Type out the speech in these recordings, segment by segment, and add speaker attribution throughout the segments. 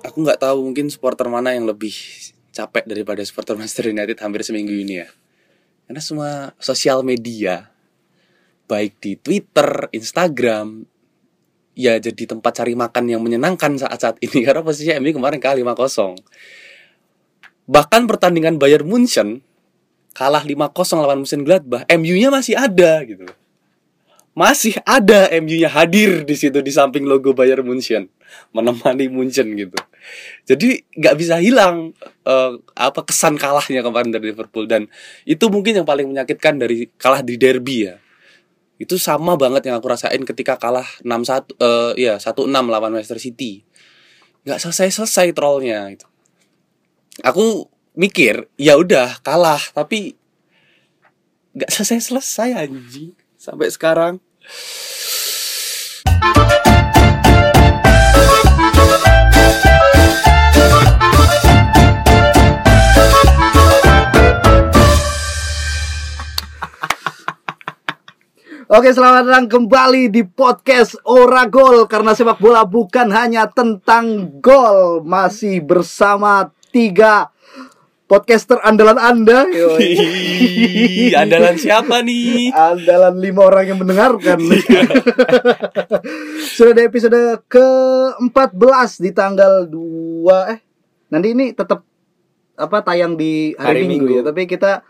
Speaker 1: aku nggak tahu mungkin supporter mana yang lebih capek daripada supporter Manchester United hampir seminggu ini ya. Karena semua sosial media baik di Twitter, Instagram ya jadi tempat cari makan yang menyenangkan saat-saat ini karena posisinya MU kemarin kalah 5-0. Bahkan pertandingan Bayern Munchen kalah 5-0 lawan Munchen Gladbach, MU-nya masih ada gitu. Masih ada MU-nya hadir di situ di samping logo Bayern Munchen menemani Munchen gitu. Jadi nggak bisa hilang eh, apa kesan kalahnya kemarin dari Liverpool dan itu mungkin yang paling menyakitkan dari kalah di derby ya. Itu sama banget yang aku rasain ketika kalah 6-1 eh, ya 1-6 lawan Manchester City. Nggak selesai-selesai trollnya gitu aku mikir ya udah kalah tapi nggak selesai selesai anjing sampai sekarang
Speaker 2: Oke, selamat datang kembali di podcast Ora Gol karena sepak bola bukan hanya tentang gol. Masih bersama tiga podcaster andalan Anda. Yoi.
Speaker 1: Ih, andalan siapa nih
Speaker 2: Andalan lima orang yang mendengarkan.
Speaker 1: Iya.
Speaker 2: Sudah di episode ke-14 di tanggal 2 eh nanti ini tetap apa tayang di
Speaker 1: Hari
Speaker 2: hari, Minggu,
Speaker 1: Minggu.
Speaker 2: ya, tapi kita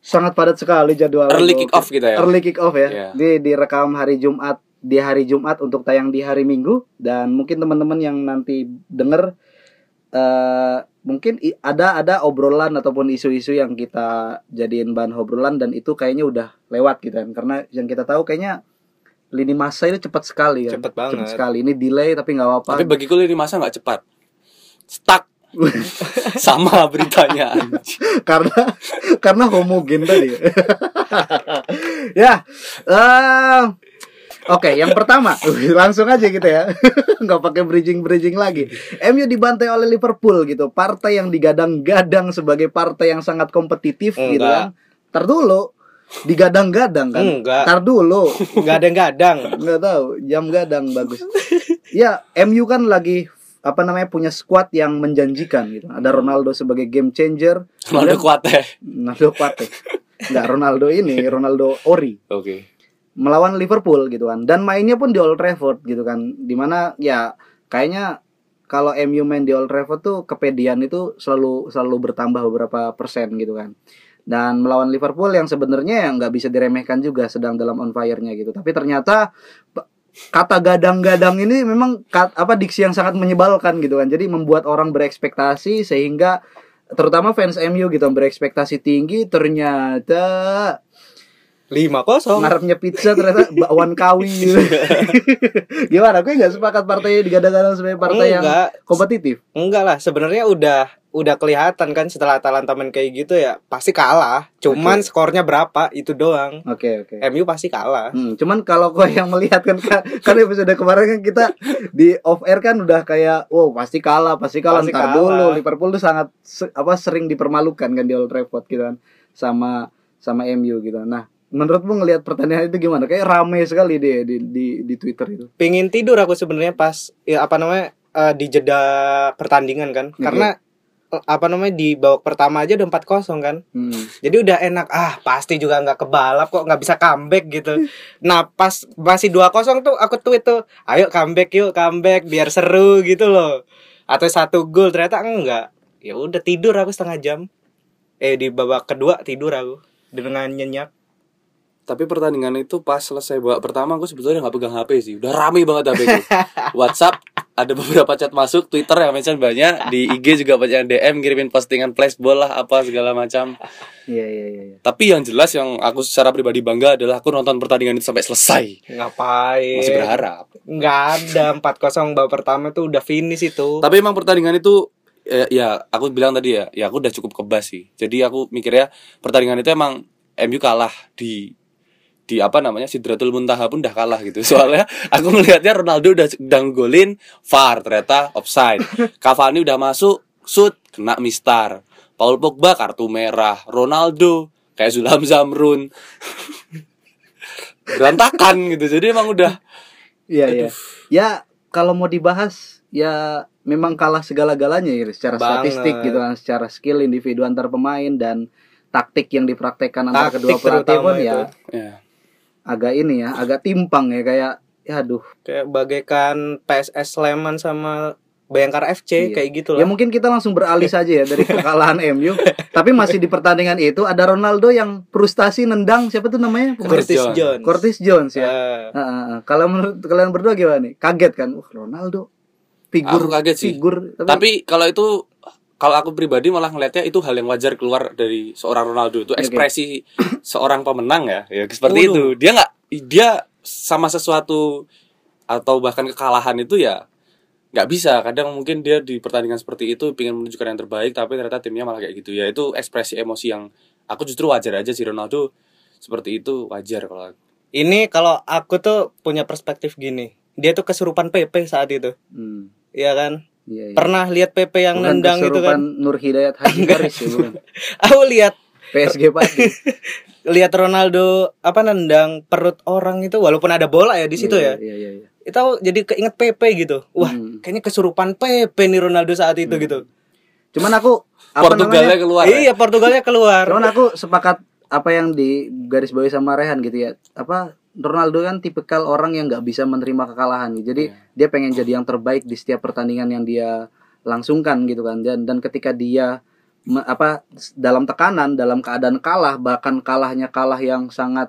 Speaker 2: sangat padat sekali jadwal.
Speaker 1: early kick off kita ya
Speaker 2: Early kick off
Speaker 1: Iya.
Speaker 2: ya. Di direkam hari Jumat di hari Jumat untuk tayang di hari Minggu dan mungkin teman-teman yang nanti denger eh mungkin i- ada ada obrolan ataupun isu-isu yang kita jadiin bahan obrolan dan itu kayaknya udah lewat gitu kan karena yang kita tahu kayaknya lini masa itu cepat sekali kan
Speaker 3: Cepet banget.
Speaker 2: Cepet sekali ini delay tapi nggak apa-apa
Speaker 1: tapi bagiku lini masa nggak cepat stuck sama beritanya anjing.
Speaker 2: karena karena homogen tadi ya eh, oke yang pertama langsung aja gitu ya nggak pakai bridging bridging lagi MU dibantai oleh Liverpool gitu partai yang digadang-gadang sebagai partai yang sangat kompetitif gitu
Speaker 3: Enggak.
Speaker 2: kan Ntar dulu digadang-gadang kan
Speaker 3: Enggak.
Speaker 2: Ntar dulu
Speaker 3: nggak ada gadang
Speaker 2: nggak tahu jam gadang bagus ya MU kan lagi apa namanya punya squad yang menjanjikan gitu ada Ronaldo sebagai game changer
Speaker 1: Ronaldo kuat ya
Speaker 2: Ronaldo Kuate. Enggak, Ronaldo ini, Ronaldo Ori
Speaker 1: oke
Speaker 2: melawan Liverpool gitu kan. Dan mainnya pun di Old Trafford gitu kan. Dimana ya kayaknya kalau MU main di Old Trafford tuh kepedian itu selalu selalu bertambah beberapa persen gitu kan. Dan melawan Liverpool yang sebenarnya ya nggak bisa diremehkan juga sedang dalam on fire-nya gitu. Tapi ternyata p- kata gadang-gadang ini memang kat- apa diksi yang sangat menyebalkan gitu kan. Jadi membuat orang berekspektasi sehingga terutama fans MU gitu berekspektasi tinggi ternyata
Speaker 3: lima kosong
Speaker 2: ngarepnya pizza ternyata bakwan kawi gimana gue nggak sepakat partainya digadang-gadang sebagai partai yang
Speaker 3: Oh, enggak
Speaker 2: kompetitif
Speaker 3: enggak lah sebenarnya udah udah kelihatan kan setelah Atalanta main kayak gitu ya pasti kalah cuman
Speaker 2: Oke.
Speaker 3: skornya berapa itu doang
Speaker 2: oke oke
Speaker 3: MU pasti kalah
Speaker 2: Hmm, cuman kalau gue yang melihat kan kan kan episode kemarin kan kita di off air kan udah kayak wow pasti kalah pasti kalah
Speaker 3: Pasti
Speaker 2: ntar
Speaker 3: kalah.
Speaker 2: dulu Liverpool tuh sangat se- apa sering dipermalukan kan di Old Trafford gitu kan sama sama MU gitu nah menurutmu ngelihat pertandingan itu gimana kayak rame sekali deh di di di Twitter itu
Speaker 3: pingin tidur aku sebenarnya pas ya apa namanya eh, di jeda pertandingan kan
Speaker 2: Oke.
Speaker 3: karena eh, apa namanya di babak pertama aja udah 4-0 kan
Speaker 2: Hmm.
Speaker 3: jadi udah enak ah pasti juga nggak kebalap kok nggak bisa comeback gitu nah pas masih 2-0 tuh aku tweet tuh ayo comeback yuk comeback biar seru gitu loh atau satu gol ternyata enggak ya udah tidur aku setengah jam eh di babak kedua tidur aku dengan nyenyak
Speaker 1: tapi pertandingan itu pas selesai babak pertama aku sebetulnya nggak pegang HP sih udah rame banget HP ku. WhatsApp ada beberapa chat masuk Twitter yang mention banyak di IG juga banyak yang DM ngirimin postingan flashball lah apa segala macam
Speaker 2: iya iya iya iya.
Speaker 1: tapi yang jelas yang aku secara pribadi bangga adalah aku nonton pertandingan itu sampai selesai
Speaker 3: ngapain
Speaker 1: masih berharap
Speaker 3: nggak ada 4-0 babak pertama tuh udah finish itu
Speaker 1: tapi emang pertandingan itu eh, ya aku bilang tadi ya ya aku udah cukup kebas sih jadi aku mikirnya pertandingan itu emang MU kalah di di apa namanya Sidratul Muntaha pun udah kalah gitu soalnya aku melihatnya Ronaldo udah udah golin VAR ternyata offside Cavani udah masuk shoot kena mistar Paul Pogba kartu merah Ronaldo kayak Zulham Zamrun berantakan gitu jadi emang udah
Speaker 2: Iya iya. Ya kalau mau dibahas ya memang kalah segala-galanya ya secara
Speaker 3: Banget.
Speaker 2: statistik gitu kan, secara skill individu antar pemain dan taktik yang dipraktekkan antara
Speaker 3: Taktik
Speaker 2: kedua pelatih
Speaker 3: terutama
Speaker 2: pun ya
Speaker 4: Ya.
Speaker 2: agak ini ya, agak timpang ya kayak ya aduh.
Speaker 3: kayak bagaikan PSS Sleman sama Bayangkara FC
Speaker 2: Iya.
Speaker 3: kayak gitu
Speaker 2: Ya
Speaker 3: lah.
Speaker 2: mungkin kita langsung beralih saja ya dari kekalahan MU. Tapi masih di pertandingan itu ada Ronaldo yang frustasi nendang siapa tuh namanya?
Speaker 3: Curtis
Speaker 4: Curtis
Speaker 3: Jones.
Speaker 2: Curtis Jones ya.
Speaker 3: Eh,
Speaker 2: Ah, ah, ah. Kalau menurut kalian berdua gimana nih? Kaget kan? Wah, Ronaldo
Speaker 4: Aku
Speaker 2: figur
Speaker 4: kaget sih.
Speaker 2: figur
Speaker 4: Tapi kalau itu kalau aku pribadi malah ngelihatnya itu hal yang wajar keluar dari seorang Ronaldo itu
Speaker 2: Oke.
Speaker 4: ekspresi seorang pemenang ya. Ya seperti
Speaker 3: Waduh.
Speaker 4: itu. Dia nggak dia sama sesuatu atau bahkan kekalahan itu ya nggak bisa kadang mungkin dia di pertandingan seperti itu ingin menunjukkan yang terbaik tapi ternyata timnya malah kayak gitu ya itu ekspresi emosi yang aku justru wajar aja sih Ronaldo seperti itu wajar kalau aku.
Speaker 3: ini kalau aku tuh punya perspektif gini. Dia tuh kesurupan PP saat itu.
Speaker 2: Hmm,
Speaker 3: Iya kan?
Speaker 2: iya, iya.
Speaker 3: Pernah lihat PP yang
Speaker 2: Bukan
Speaker 3: nendang gitu
Speaker 2: kesurupan
Speaker 3: kan?
Speaker 2: Nur Hidayat Haji Karis ya, bukan.
Speaker 3: Aku lihat
Speaker 2: PSG pasti.
Speaker 3: lihat Ronaldo apa nendang perut orang itu walaupun ada bola ya di situ ya.
Speaker 2: Iya, Iya iya iya.
Speaker 3: Itu aku jadi keinget PP gitu. Wah,
Speaker 2: Hmm.
Speaker 3: kayaknya kesurupan PP nih Ronaldo saat itu
Speaker 2: Hmm.
Speaker 3: gitu.
Speaker 2: Cuman aku apa
Speaker 4: Portugalnya
Speaker 2: namanya?
Speaker 4: keluar ya.
Speaker 3: Iya, Portugalnya keluar.
Speaker 2: Cuman aku sepakat apa yang di garis bawahi sama Rehan gitu ya. Apa Ronaldo kan tipikal orang yang nggak bisa menerima kekalahan.
Speaker 3: Iya.
Speaker 2: gitu. Jadi dia pengen jadi yang terbaik di setiap pertandingan yang dia langsungkan gitu kan. Dan dan ketika dia me- apa dalam tekanan, dalam keadaan kalah, bahkan kalahnya kalah yang sangat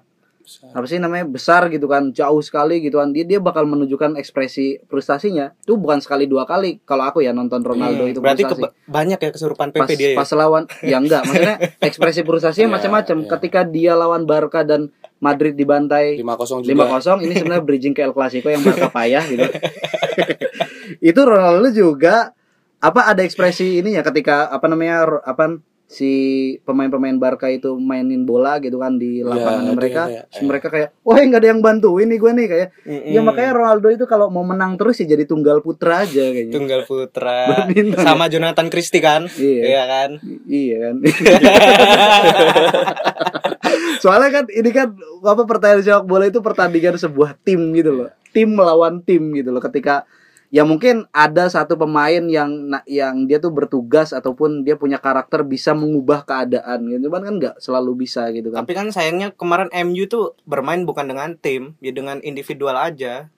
Speaker 2: apa sih namanya besar gitu kan jauh sekali gitu kan dia dia bakal menunjukkan ekspresi frustasinya itu bukan sekali dua kali kalau aku ya nonton Ronaldo
Speaker 3: Hmm,
Speaker 2: itu
Speaker 3: berarti
Speaker 2: frustasi
Speaker 3: keba- banyak ya kesurupan PP
Speaker 2: pas
Speaker 3: dia. ya?
Speaker 2: pas lawan ya enggak maksudnya ekspresi
Speaker 4: Iya,
Speaker 2: frustasinya macam-macam
Speaker 4: iya.
Speaker 2: ketika dia lawan Barca dan Madrid dibantai
Speaker 4: 5-0 juga
Speaker 2: 5-0 ini sebenarnya bridging ke El Clasico yang Barca payah gitu itu Ronaldo juga apa ada ekspresi ininya ketika apa namanya ro- apa si pemain-pemain Barca itu mainin bola gitu kan di
Speaker 4: dia
Speaker 2: lapangan mereka
Speaker 4: kayak,
Speaker 2: Terus
Speaker 4: eh.
Speaker 2: mereka kayak wah nggak ada yang bantu ini gue nih kayak
Speaker 3: Mm-mm.
Speaker 2: ya makanya Ronaldo itu kalau mau menang terus ya jadi tunggal putra aja kayaknya
Speaker 3: Iya. Tunggal Putra
Speaker 2: Badminton.
Speaker 3: sama Jonathan Christie kan?
Speaker 2: Iya.
Speaker 3: ya? Iya kan?
Speaker 2: iya kan soalnya kan ini kan apa pertandingan sepak bola itu pertandingan sebuah tim gitu loh
Speaker 3: Iya.
Speaker 2: tim melawan tim gitu loh ketika ya mungkin ada satu pemain yang na- yang dia tuh bertugas ataupun dia punya karakter bisa mengubah keadaan gitu cuman kan nggak selalu bisa gitu kan
Speaker 3: Tapi kan sayangnya kemarin MU tuh bermain bukan dengan tim, ya dengan individual aja.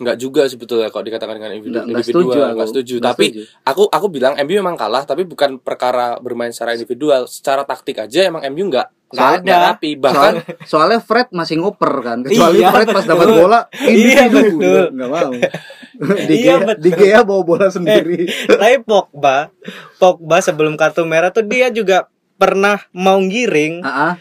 Speaker 4: Nggak juga sebetulnya kalau dikatakan dengan individu-
Speaker 2: nggak
Speaker 4: individual
Speaker 2: nggak setuju aku
Speaker 4: nggak setuju.
Speaker 2: Nggak
Speaker 4: Tapi
Speaker 2: setuju.
Speaker 4: aku aku bilang MU memang kalah tapi bukan perkara bermain secara individual, secara taktik aja emang MU nggak
Speaker 3: Nggak
Speaker 4: nggak- nggak
Speaker 3: ada.
Speaker 4: rapi bahkan
Speaker 2: soalnya, soalnya Fred masih ngoper kan kecuali
Speaker 3: Iya,
Speaker 2: Fred pas dapat
Speaker 3: betul.
Speaker 2: bola ini
Speaker 3: Iya,
Speaker 2: dulu.
Speaker 3: betul.
Speaker 2: nggak mau
Speaker 3: Iya,
Speaker 2: di Gea,
Speaker 3: betul. Eh,
Speaker 2: di Gea bawa bola sendiri
Speaker 3: Tapi Pogba, Pogba sebelum kartu merah tuh dia juga pernah mau ngiring
Speaker 2: Ah, ah.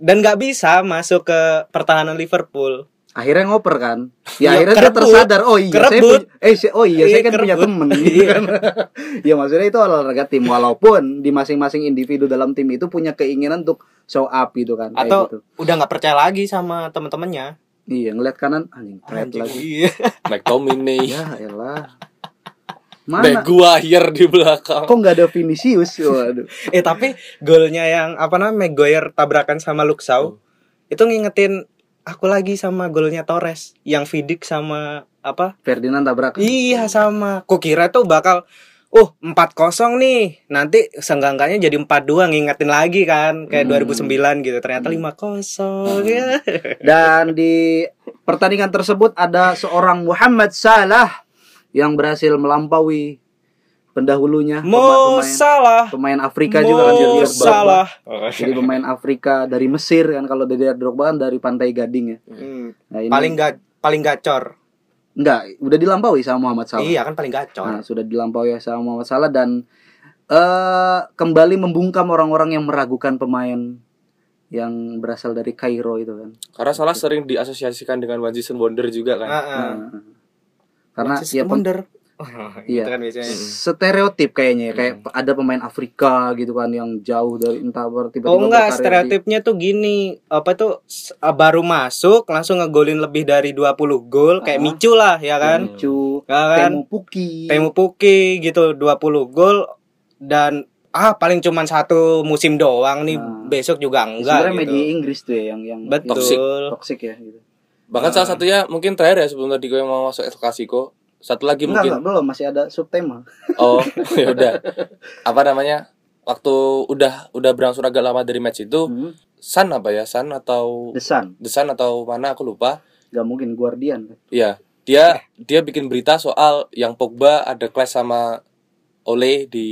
Speaker 3: dan nggak bisa masuk ke pertahanan Liverpool.
Speaker 2: akhirnya ngoper kan
Speaker 3: Ya,
Speaker 2: ya akhirnya dia
Speaker 3: kerebut.
Speaker 2: tersadar oh iya saya
Speaker 3: Kerebut.
Speaker 2: punya- eh saya- oh iya
Speaker 3: Iya,
Speaker 2: saya kan punya
Speaker 3: kerebut. Iya.
Speaker 2: temen gitu kan ya maksudnya itu olahraga tim walaupun di masing-masing individu dalam tim itu punya keinginan untuk show up gitu kan kayak
Speaker 3: Atau-
Speaker 2: gitu.
Speaker 3: Udah nggak percaya lagi sama teman-temannya.
Speaker 2: iya ngeliat kanan anjing Fred
Speaker 3: Anjing,
Speaker 2: lagi
Speaker 3: iya.
Speaker 4: McTominay,
Speaker 2: ya elah
Speaker 4: Maguire
Speaker 2: mana
Speaker 4: di belakang.
Speaker 2: kok nggak ada Vinicius waduh
Speaker 3: Eh tapi golnya yang apa namanya Maguire tabrakan sama Luxau itu ngingetin aku lagi sama golnya Torres yang Vidic sama apa
Speaker 2: Ferdinand tabrakan
Speaker 3: Iya sama. Kukira tuh bakal uh 4-0 nih. Nanti senggangannya jadi 4-2 ngingetin lagi kan kayak
Speaker 2: Hmm.
Speaker 3: 2009 gitu. Ternyata 5-0 ya.
Speaker 2: Dan di pertandingan tersebut ada seorang Muhammad Salah yang berhasil melampaui pendahulunya
Speaker 3: Mo
Speaker 2: pema- pemain,
Speaker 3: salah.
Speaker 2: pemain Afrika juga kan
Speaker 3: Mo
Speaker 2: Didier Drogba.
Speaker 3: salah.
Speaker 2: Jadi pemain Afrika dari Mesir kan kalau Didier Drogba kan dari Pantai Gading ya.
Speaker 3: Hmm,
Speaker 2: Nah, ini-
Speaker 3: Paling gak paling gacor.
Speaker 2: enggak udah dilampaui sama Muhammad Salah.
Speaker 3: Iya kan paling gacor.
Speaker 2: Nah, sudah dilampaui sama Muhammad Salah dan eh kembali membungkam orang-orang yang meragukan pemain yang berasal dari Kairo itu kan.
Speaker 4: Karena salah sering diasosiasikan dengan One Season Wonder juga kan.
Speaker 3: Heeh.
Speaker 2: Nah, karena
Speaker 3: Manchester
Speaker 2: ya pem-
Speaker 3: Wonder.
Speaker 2: Iya.
Speaker 3: Itu kan biasanya.
Speaker 2: stereotip kayaknya ya kayak
Speaker 3: Hmm.
Speaker 2: ada pemain Afrika gitu kan yang jauh dari entah ber- tiba-tiba
Speaker 3: Oh enggak,
Speaker 2: berkarir di-
Speaker 3: stereotipnya tuh gini, apa tuh s- baru masuk langsung ngegolin lebih dari 20 gol kayak
Speaker 2: Ah.
Speaker 3: Micu lah ya kan.
Speaker 2: lucu
Speaker 3: Ya kan?
Speaker 2: Hmm. Temu Puki
Speaker 3: Temu Puki gitu 20 gol dan ah paling cuman satu musim doang nih
Speaker 2: Nah.
Speaker 3: besok juga
Speaker 2: sebenarnya
Speaker 3: enggak
Speaker 2: media
Speaker 3: gitu.
Speaker 2: Inggris tuh ya yang yang
Speaker 3: Betul.
Speaker 4: Toxic.
Speaker 2: toxic ya gitu
Speaker 4: Bahkan
Speaker 3: Ah.
Speaker 4: salah satunya mungkin terakhir ya sebelum tadi gue mau masuk El Clasico,
Speaker 1: Satu lagi
Speaker 2: Enggak,
Speaker 1: mungkin.
Speaker 2: enggak, belum masih ada subtema.
Speaker 1: Oh, ya udah. Apa namanya? Waktu udah udah berangsur agak lama dari match
Speaker 3: Oh.
Speaker 1: itu,
Speaker 2: Hmm.
Speaker 1: Sun apa ya? Sun atau
Speaker 2: The Sun,
Speaker 1: The Sun atau mana aku lupa.
Speaker 2: enggak mungkin Guardian.
Speaker 1: Iya, dia dia bikin berita soal yang Pogba ada clash sama
Speaker 3: Iya.
Speaker 1: Ole
Speaker 2: Oke.
Speaker 1: di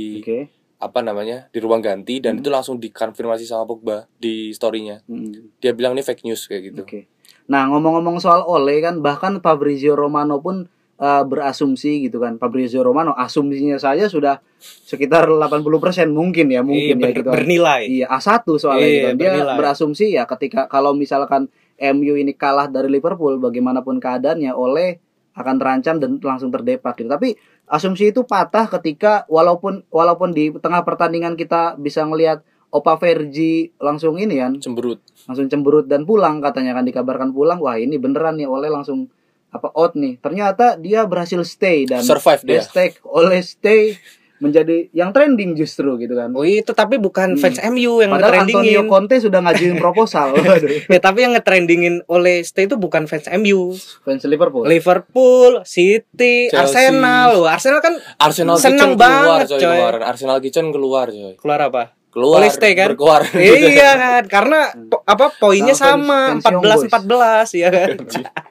Speaker 1: apa namanya? di ruang ganti dan
Speaker 2: Hmm.
Speaker 1: itu langsung dikonfirmasi sama Pogba di story-nya.
Speaker 2: Hmm.
Speaker 1: Dia bilang ini fake news kayak
Speaker 3: Iya.
Speaker 1: gitu.
Speaker 2: Oke. Nah, ngomong-ngomong soal Ole kan bahkan Fabrizio Romano pun eh, berasumsi gitu kan. Fabrizio Romano asumsinya saja sudah sekitar 80% mungkin ya, mungkin
Speaker 3: Iya,
Speaker 2: ya
Speaker 3: ber-
Speaker 2: gitu. kan.
Speaker 3: bernilai.
Speaker 2: Iya, A1 soalnya
Speaker 3: Iya,
Speaker 2: gitu kan. Dia
Speaker 3: bernilai.
Speaker 2: berasumsi ya ketika kalau misalkan MU ini kalah dari Liverpool bagaimanapun keadaannya Ole akan terancam dan langsung terdepak gitu. Tapi asumsi itu patah ketika walaupun walaupun di tengah pertandingan kita bisa ngelihat Opa Vergi langsung ini kan
Speaker 1: Cemberut.
Speaker 2: langsung cemberut dan pulang katanya kan dikabarkan pulang wah ini beneran nih oleh langsung apa out nih ternyata dia berhasil stay dan
Speaker 1: Survive dia.
Speaker 2: hashtag oleh stay menjadi yang trending justru gitu kan
Speaker 3: Oh itu tapi bukan
Speaker 2: Hmm.
Speaker 3: fans MU yang
Speaker 2: padahal
Speaker 3: ngetrendingin.
Speaker 2: Antonio Conte sudah ngajuin proposal Waduh.
Speaker 3: Ya tapi yang ngetrendingin oleh Stay itu bukan fans MU.
Speaker 2: fans Liverpool
Speaker 3: Liverpool, City,
Speaker 1: Chelsea.
Speaker 3: Arsenal. Loh, Arsenal kan
Speaker 1: Arsenal
Speaker 3: Seneng
Speaker 1: Kitchen keluar
Speaker 3: banget,
Speaker 1: coy,
Speaker 3: coy.
Speaker 1: kemarin. Arsenal Kitchen keluar coy.
Speaker 3: keluar apa?
Speaker 1: Keluar.
Speaker 3: Oleh stay, kan?
Speaker 1: Berkeluar.
Speaker 3: iya kan, karena po- apa poinnya sama
Speaker 2: Sama fans- fans Young
Speaker 3: 14 14 ya kan.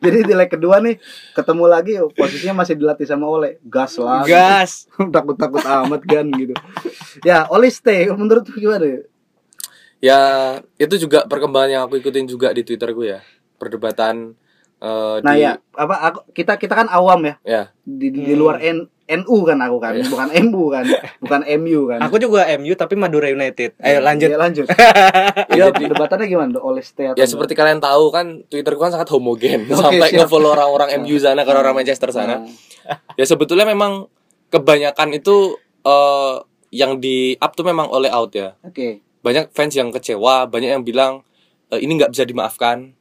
Speaker 2: jadi di leg kedua nih ketemu lagi oh, posisinya masih dilatih sama Ole gas lah
Speaker 3: Gas.
Speaker 2: takut-takut amat kan gitu ya Ole stay menurut lu gimana
Speaker 1: Ya, itu juga perkembangan yang aku ikutin juga di Twitter gue ya. Perdebatan eh,
Speaker 2: nah
Speaker 1: di
Speaker 2: ya apa aku, kita kita kan awam ya
Speaker 1: Ya.
Speaker 2: di, di- di
Speaker 3: Hmm.
Speaker 2: luar N, NU kan aku kan
Speaker 1: Iya.
Speaker 2: bukan MU kan bukan MU kan
Speaker 3: Aku juga MU tapi Madura United. Ayo lanjut.
Speaker 2: ya, lanjut
Speaker 1: Ya,
Speaker 2: ya
Speaker 1: jadi-
Speaker 2: debatannya gimana Do? oleh stay atau
Speaker 1: Ya
Speaker 2: enggak?
Speaker 1: seperti kalian tahu kan Twitter gue kan sangat homogen
Speaker 2: Oke,
Speaker 1: sampai
Speaker 2: siap.
Speaker 1: nge-follow orang-orang MU sana kalau orang Manchester sana.
Speaker 2: Nah,
Speaker 1: Ya sebetulnya memang kebanyakan itu eh, yang di up tuh memang oleh out ya.
Speaker 2: oke
Speaker 1: Banyak fans yang kecewa, banyak yang bilang "Eh, ini nggak bisa dimaafkan.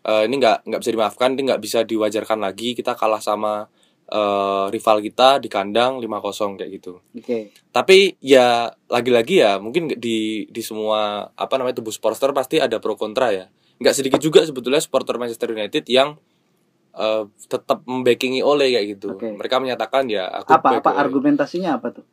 Speaker 1: Eh, ini nggak nggak bisa dimaafkan, ini nggak bisa diwajarkan lagi kita kalah sama eh, rival kita di kandang 5-0 kayak gitu.
Speaker 2: oke
Speaker 1: tapi ya lagi-lagi ya mungkin di di semua apa namanya tubuh supporter pasti ada pro kontra ya nggak sedikit juga sebetulnya supporter Manchester United yang eh, tetap membackingi Ole kayak gitu
Speaker 2: Oke.
Speaker 1: mereka menyatakan ya aku
Speaker 2: apa
Speaker 1: back
Speaker 2: apa
Speaker 1: Ole.
Speaker 2: argumentasinya apa tuh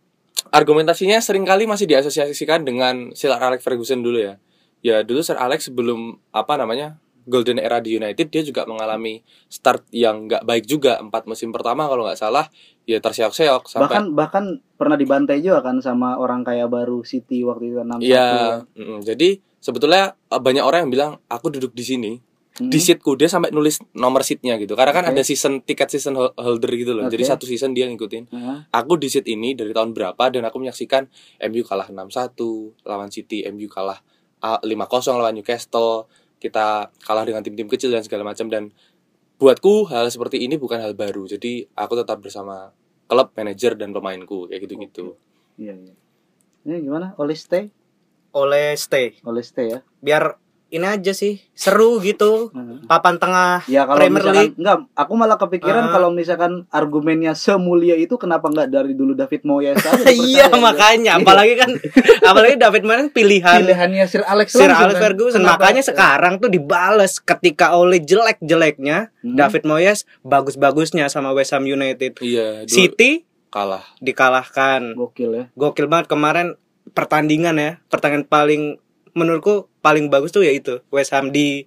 Speaker 1: argumentasinya seringkali masih diasosiasikan dengan Sir Alex Ferguson dulu ya ya dulu Sir Alex sebelum apa namanya Golden Era di United dia juga mengalami start yang nggak baik juga empat musim pertama kalau nggak salah ya terseok-seok sampai
Speaker 2: bahkan bahkan pernah dibantai juga kan sama orang kaya baru City waktu itu kan, 61
Speaker 1: Iya, mm, jadi sebetulnya eh, banyak orang yang bilang aku duduk di sini,
Speaker 2: Hmm,
Speaker 1: di seatku dia sampai nulis nomor seatnya gitu. Karena kan
Speaker 2: Oke.
Speaker 1: ada season tiket season hol- holder gitu loh. Jadi
Speaker 2: Oke.
Speaker 1: satu season dia ngikutin.
Speaker 2: nah,
Speaker 1: Aku di seat ini dari tahun berapa dan aku menyaksikan MU kalah 6-1 lawan City, MU kalah ah, 5-0 lawan Newcastle, kita kalah dengan tim-tim kecil dan segala macam dan buatku hal seperti ini bukan hal baru. Jadi aku tetap bersama klub, manajer dan pemainku kayak gitu-gitu.
Speaker 2: iya iya ini gimana oleh stay
Speaker 3: Oleh Stay.
Speaker 2: oleh stay ya
Speaker 3: Biar ini aja sih seru gitu.
Speaker 2: Nah.
Speaker 3: Papan tengah.
Speaker 2: ya kalau
Speaker 3: Premier
Speaker 2: misalkan
Speaker 3: League.
Speaker 2: enggak aku malah
Speaker 3: Ah.
Speaker 2: kepikiran kalau misalkan argumennya semulia itu kenapa enggak dari dulu David Moyes aja
Speaker 3: Iya
Speaker 2: dipercaya, gitu.
Speaker 3: makanya apalagi kan apalagi David Manet pilihan
Speaker 2: pilihannya Sir Alex
Speaker 3: Sir
Speaker 2: langsung
Speaker 3: Alex
Speaker 2: kan.
Speaker 3: Ferguson
Speaker 2: Kenapa?
Speaker 3: makanya sekarang tuh dibales ketika oleh jelek-jeleknya
Speaker 2: Hmm.
Speaker 3: David Moyes bagus-bagusnya sama West Ham United.
Speaker 1: Iya, dulu
Speaker 3: City
Speaker 1: kalah.
Speaker 3: dikalahkan.
Speaker 2: gokil ya
Speaker 3: Gokil banget kemarin pertandingan ya. Pertandingan paling menurutku paling bagus tuh yaitu West Ham di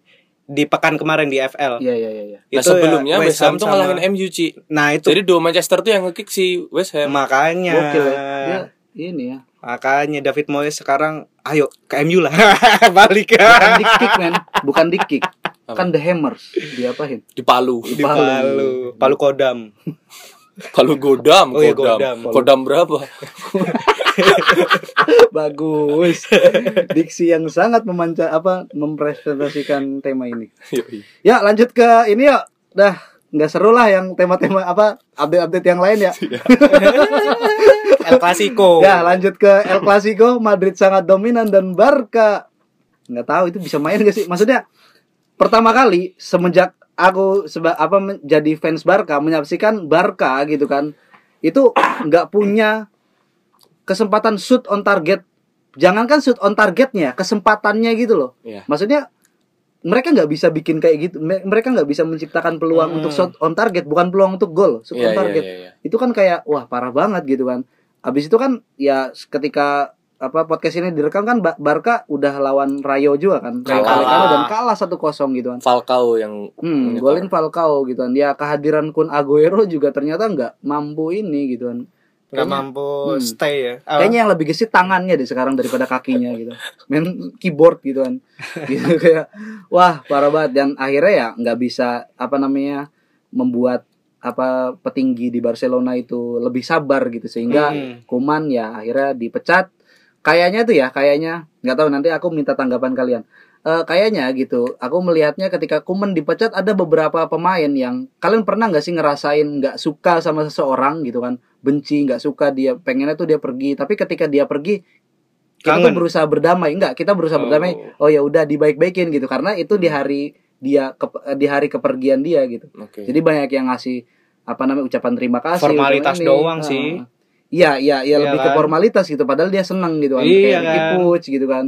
Speaker 3: di pekan kemarin di FL.
Speaker 2: iya iya iya iya.
Speaker 3: Itu
Speaker 1: Nah
Speaker 3: ya
Speaker 1: sebelumnya West Ham tuh
Speaker 3: sama-
Speaker 1: ngalahin MU Ci.
Speaker 3: Nah, itu
Speaker 1: Jadi dua Manchester tuh yang ngekick si West Ham.
Speaker 3: makanya.
Speaker 2: gokil ya dia ini ya
Speaker 3: Makanya David Moyes sekarang ayo ke MU lah. Balik ke
Speaker 2: bukan di Kan kick men bukan di kick
Speaker 1: Apa?
Speaker 2: kan the hammers diapain
Speaker 1: Di Palu.
Speaker 3: di Palu, Palu Kodam.
Speaker 1: Palu Godam,
Speaker 3: Oh iya,
Speaker 1: Godam.
Speaker 3: Godam.
Speaker 1: Godam berapa?
Speaker 2: bagus diksi yang sangat memanca apa mempresentasikan tema ini
Speaker 1: Yoi.
Speaker 2: ya lanjut ke ini ya dah nggak seru lah yang tema-tema apa update-update yang lain ya
Speaker 3: El Clasico.
Speaker 2: ya lanjut ke El Clasico Madrid sangat dominan dan Barca nggak tahu itu bisa main gak sih maksudnya pertama kali semenjak aku seba, apa menjadi fans Barca menyaksikan Barca gitu kan itu nggak punya kesempatan shoot on target jangankan shoot on targetnya kesempatannya gitu loh
Speaker 1: Iya.
Speaker 2: maksudnya mereka nggak bisa bikin kayak gitu. Me- Mereka nggak bisa menciptakan peluang
Speaker 3: Hmm.
Speaker 2: untuk shot on target, bukan peluang untuk gol,
Speaker 3: kan
Speaker 2: shot
Speaker 4: Iya,
Speaker 2: on
Speaker 4: iya,
Speaker 2: target.
Speaker 4: iya, iya.
Speaker 2: Itu kan kayak wah parah banget gitu kan. Abis itu kan ya ketika apa podcast ini direkam kan Ba- Barca udah lawan Rayo juga kan. Rayo
Speaker 4: Kalah.
Speaker 2: Vallecano dan kalah 1-0 gitu kan.
Speaker 4: Falcao yang
Speaker 2: Hmm,
Speaker 4: Menyetor.
Speaker 2: golin Falcao gitu kan. Ya kehadiran Kun Aguero juga ternyata nggak mampu ini gitu kan.
Speaker 3: nggak
Speaker 2: Kayaknya-
Speaker 3: mampu
Speaker 2: Hmm.
Speaker 3: stay ya Apa?
Speaker 2: Kayaknya yang lebih gesit tangannya deh sekarang daripada kakinya gitu. Main keyboard gitu kan. Gitu kayak wah parah banget dan akhirnya ya nggak bisa apa namanya membuat apa petinggi di Barcelona itu lebih sabar gitu sehingga
Speaker 3: Hmm.
Speaker 2: Kuman ya akhirnya dipecat. Kayaknya tuh ya kayaknya nggak tahu nanti aku minta tanggapan kalian. Eh, kayaknya gitu. Aku melihatnya ketika Kuman dipecat ada beberapa pemain yang kalian pernah nggak sih ngerasain nggak suka sama seseorang gitu kan? Benci nggak suka dia pengennya tuh dia pergi. Tapi ketika dia pergi kita
Speaker 3: Kangen.
Speaker 2: tuh berusaha berdamai enggak kita berusaha berdamai oh ya udah dibaik-baikin gitu karena itu di hari dia ke- di hari kepergian dia gitu
Speaker 4: oke.
Speaker 2: jadi banyak yang ngasih apa namanya ucapan terima kasih.
Speaker 3: Formalitas
Speaker 2: ucapan ini.
Speaker 3: doang
Speaker 2: Ah.
Speaker 3: sih.
Speaker 2: Iya, iya, iya
Speaker 3: Iya
Speaker 2: lebih ke
Speaker 3: kan?
Speaker 2: formalitas gitu. Padahal dia seneng gitu kan.
Speaker 3: Iya
Speaker 2: Kayak Ricky
Speaker 3: kan?
Speaker 2: Puig gitu kan.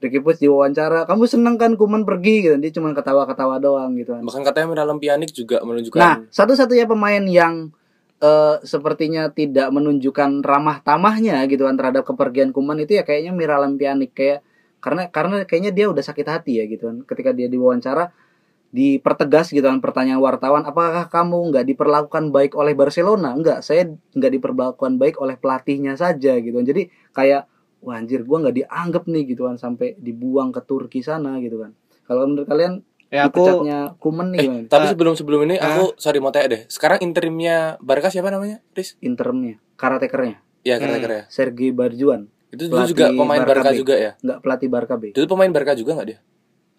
Speaker 2: Ricky Puig diwawancara, kamu seneng kan Kuman pergi gitu. Dia cuma ketawa-ketawa doang gitu kan.
Speaker 4: Bahkan katanya dalam pianik juga menunjukkan
Speaker 2: Nah, satu-satunya pemain yang eh, sepertinya tidak menunjukkan ramah tamahnya gitu kan terhadap kepergian Kuman itu ya kayaknya Miralem Pjanic kayak karena karena kayaknya dia udah sakit hati ya gitu kan ketika dia diwawancara dipertegas gitu kan pertanyaan wartawan apakah kamu nggak diperlakukan baik oleh Barcelona nggak saya nggak diperlakukan baik oleh pelatihnya saja gitu kan jadi kayak wah anjir gue nggak dianggap nih gitu kan sampai dibuang ke Turki sana gitu kan kalau menurut kalian
Speaker 3: ya aku
Speaker 2: dipecatnya Kuman nih
Speaker 4: Eh,
Speaker 2: gimana
Speaker 4: tapi
Speaker 3: Eh,
Speaker 4: sebelum sebelum ini
Speaker 3: ah.
Speaker 4: aku sorry mau tanya deh. Sekarang interimnya Barca siapa namanya? Riz?
Speaker 2: interimnya karatekernya
Speaker 4: Ya,
Speaker 3: Hmm.
Speaker 4: kira-kira ya.
Speaker 2: Sergei Barjuan
Speaker 4: Itu dulu juga
Speaker 2: Pelatih
Speaker 4: pemain
Speaker 2: Barca
Speaker 4: Barca,
Speaker 2: B.
Speaker 4: juga ya.
Speaker 2: nggak pelatih Barca B
Speaker 4: Dulu pemain Barca juga nggak dia?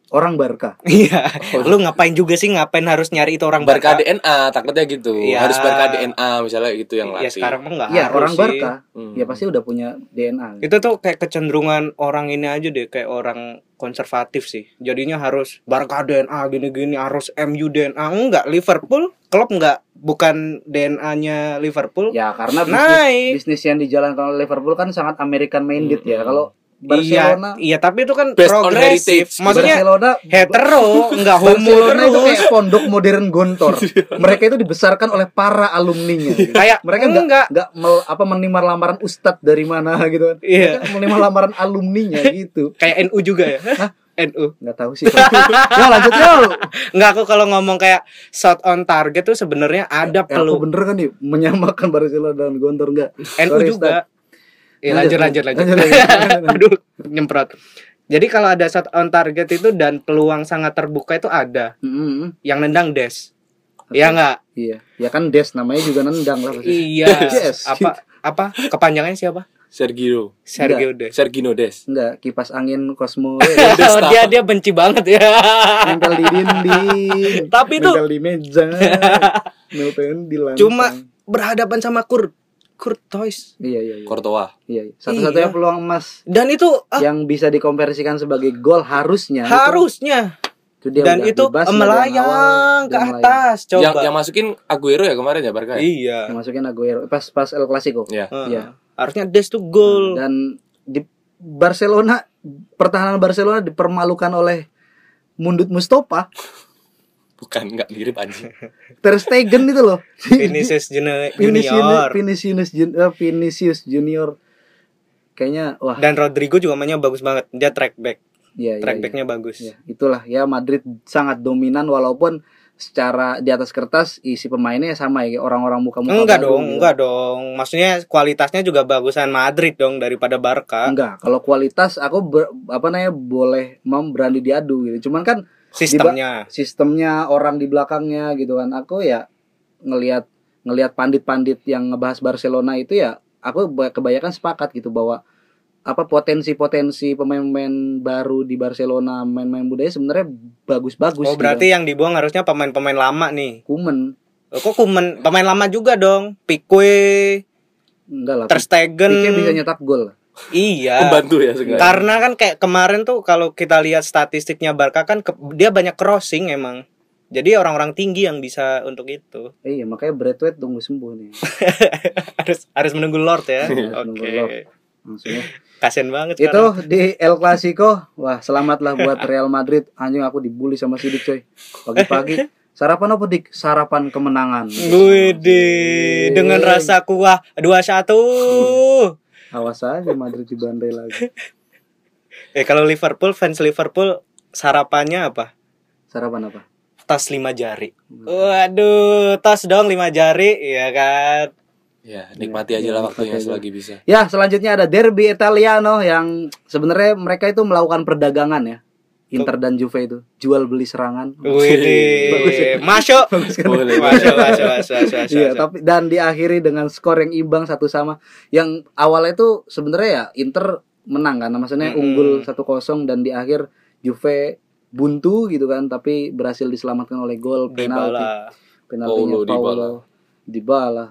Speaker 2: orang Barca
Speaker 3: iya
Speaker 4: Oh,
Speaker 3: lu ngapain juga sih ngapain harus nyari itu orang
Speaker 4: Barca
Speaker 3: Barca
Speaker 4: DNA takutnya gitu.
Speaker 3: Iya.
Speaker 4: Harus Barca DNA misalnya gitu yang
Speaker 3: ya
Speaker 4: latih.
Speaker 3: sekarang Iya, mah nggak
Speaker 2: ya
Speaker 3: harus
Speaker 2: orang
Speaker 3: sih.
Speaker 2: Barca
Speaker 4: Hmm.
Speaker 2: ya pasti udah punya DNA gitu.
Speaker 3: itu tuh kayak kecenderungan orang ini aja deh kayak orang konservatif sih jadinya harus Barca DNA gini-gini harus MU DNA enggak Liverpool klub enggak bukan DNA-nya Liverpool
Speaker 2: ya karena bisnis,
Speaker 3: naik
Speaker 2: bisnis yang dijalankan oleh Liverpool kan sangat American minded ya
Speaker 4: Mm-mm.
Speaker 3: Hmm.
Speaker 2: kalau
Speaker 3: iya
Speaker 2: Barcelona
Speaker 3: iya tapi itu kan
Speaker 4: Based on heritage.
Speaker 3: progresif maksudnya
Speaker 2: Barcelona
Speaker 3: hetero enggak homo gitu,
Speaker 2: Barcelona itu
Speaker 3: terus Iya.
Speaker 2: kayak pondok modern gontor mereka itu dibesarkan oleh para alumninya gitu.
Speaker 3: kayak
Speaker 2: mereka
Speaker 3: mereka enggak
Speaker 2: nggak mel- apa menerima lamaran ustadz dari mana gitu kan
Speaker 3: iya
Speaker 2: Mereka menerima lamaran alumninya gitu
Speaker 3: kayak NU juga ya NU
Speaker 2: nggak tahu sih ya lanjut yuk
Speaker 3: Enggak aku kalau ngomong kayak shot on target tuh sebenarnya ada
Speaker 2: Eh, aku
Speaker 3: perlu
Speaker 2: bener kan nih menyamakan Barcelona dengan Gontor enggak?
Speaker 3: NU
Speaker 2: Sorry,
Speaker 3: juga. Ya, lanjut lanjut lanjut. Aduh, nyemprot. Jadi kalau ada shot on target itu dan peluang sangat terbuka itu ada.
Speaker 2: Mm-mm.
Speaker 3: Yang nendang Des. Ya enggak?
Speaker 2: Iya, ya kan Des namanya juga nendang lah pasti.
Speaker 3: Iya.
Speaker 2: Des.
Speaker 3: Apa apa kepanjangannya siapa?
Speaker 4: Sergio.
Speaker 3: Sergio Des.
Speaker 4: Sergino Des.
Speaker 2: Enggak, kipas angin Cosmo Eh,
Speaker 3: Oh, dia dia benci banget ya.
Speaker 2: nempel di dinding.
Speaker 3: Tapi itu
Speaker 2: nempel di meja. Nempel di lantai.
Speaker 3: Cuma- berhadapan sama Kurt Kurtois.
Speaker 2: iya iya iya.
Speaker 4: Courtois.
Speaker 2: iya, iya.
Speaker 3: Iya.
Speaker 2: Satu-satunya peluang emas
Speaker 3: Dan itu ah,
Speaker 2: yang bisa dikonversikan sebagai
Speaker 3: Ya,
Speaker 2: gol harusnya. itu-
Speaker 3: harusnya
Speaker 2: itu dia
Speaker 3: dan
Speaker 2: udah
Speaker 3: itu
Speaker 2: bebas, nggak ada yang awal,
Speaker 3: melayang ke
Speaker 2: dia melayang.
Speaker 3: atas coba.
Speaker 4: Yang yang masukin Aguero ya kemarin ya Barca. Ya?
Speaker 3: Iya.
Speaker 2: Yang masukin Aguero pas pas El Clasico.
Speaker 4: Iya.
Speaker 2: Iya.
Speaker 3: Iya. Harusnya Des tuh gol.
Speaker 2: Dan di Barcelona pertahanan Barcelona dipermalukan oleh Mundut Mustopa,
Speaker 4: Bukan nggak mirip anjing.
Speaker 2: Ter Stegen itu loh.
Speaker 3: Vinicius Jun- Junior.
Speaker 2: Vinicius Jun- eh, Vinicius Junior. Kayaknya wah,
Speaker 3: Dan Rodrigo juga mainnya bagus banget. Dia track back. Iya,
Speaker 2: ya,
Speaker 3: Track backnya bagus.
Speaker 2: ya, itulah ya Madrid sangat dominan walaupun secara di atas kertas isi pemainnya sama ya kayak orang-orang gitu. muka muka
Speaker 3: Enggak dong, enggak dong. Maksudnya kualitasnya juga bagusan Madrid dong daripada Barca.
Speaker 2: enggak kalau kualitas aku ber- apa namanya boleh mem berani diadu gitu cuman kan
Speaker 3: Sistemnya.
Speaker 2: sistemnya orang di belakangnya gitu kan aku ya ngelihat ngelihat pandit-pandit yang ngebahas Barcelona itu ya aku ba- kebanyakan sepakat gitu bahwa apa potensi-potensi pemain-pemain baru di Barcelona main-main budaya sebenarnya bagus-bagus
Speaker 3: Oh, berarti yang dibuang harusnya pemain-pemain lama nih.
Speaker 2: gitu. kumen
Speaker 3: Loh, Kok kumen pemain lama juga dong? Pique,
Speaker 2: enggak lah
Speaker 3: Ter Stegen.
Speaker 2: Pique bisa nyetak gol Ah.
Speaker 3: Iya.
Speaker 4: Membantu ya sebenarnya.
Speaker 3: Karena kan kayak kemarin tuh kalau kita lihat statistiknya Barca kan ke- dia banyak crossing emang. Jadi orang-orang tinggi yang bisa untuk itu.
Speaker 2: Eh, iya makanya Braithwaite tunggu sembuh nih
Speaker 3: harus harus menunggu Lord ya.
Speaker 2: Harus
Speaker 3: Oke.
Speaker 2: Iya, menunggu Lord. maksudnya
Speaker 3: Kasian banget
Speaker 2: itu
Speaker 3: sekarang.
Speaker 2: di El Clasico wah selamatlah buat Real Madrid anjing aku dibully sama Sidik coy pagi-pagi sarapan apa dik sarapan kemenangan
Speaker 3: Wede,
Speaker 2: Iya.
Speaker 3: dengan
Speaker 2: Anjing.
Speaker 3: rasa kuah 21.
Speaker 2: awas aja Madrid dibantai lagi
Speaker 3: eh kalau Liverpool fans Liverpool sarapannya apa?
Speaker 2: sarapan apa
Speaker 3: Tas lima jari. Waduh, tas dong lima jari, ya kan.
Speaker 1: Ya, nikmati aja
Speaker 2: Iya,
Speaker 1: lah
Speaker 2: nikmati
Speaker 1: waktunya
Speaker 2: aja.
Speaker 1: selagi bisa.
Speaker 2: Ya, selanjutnya ada Derby Italiano yang sebenarnya mereka itu melakukan perdagangan ya. Inter dan Juve itu jual beli serangan. Bagus ya.
Speaker 3: Wede, masuk.
Speaker 2: Bagus kan?
Speaker 1: Boleh.
Speaker 3: Masuk, masuk, masuk, masuk, masuk.
Speaker 2: Iya, tapi dan diakhiri dengan skor yang imbang satu sama. Yang awalnya itu sebenarnya ya Inter menang kan, maksudnya
Speaker 3: Mm-mm.
Speaker 2: unggul 1-0 dan di akhir Juve buntu gitu kan, tapi berhasil diselamatkan oleh gol penalti.
Speaker 3: Dybala.
Speaker 2: Penaltinya
Speaker 1: Paulo Dybala.
Speaker 2: Paulo Dybala.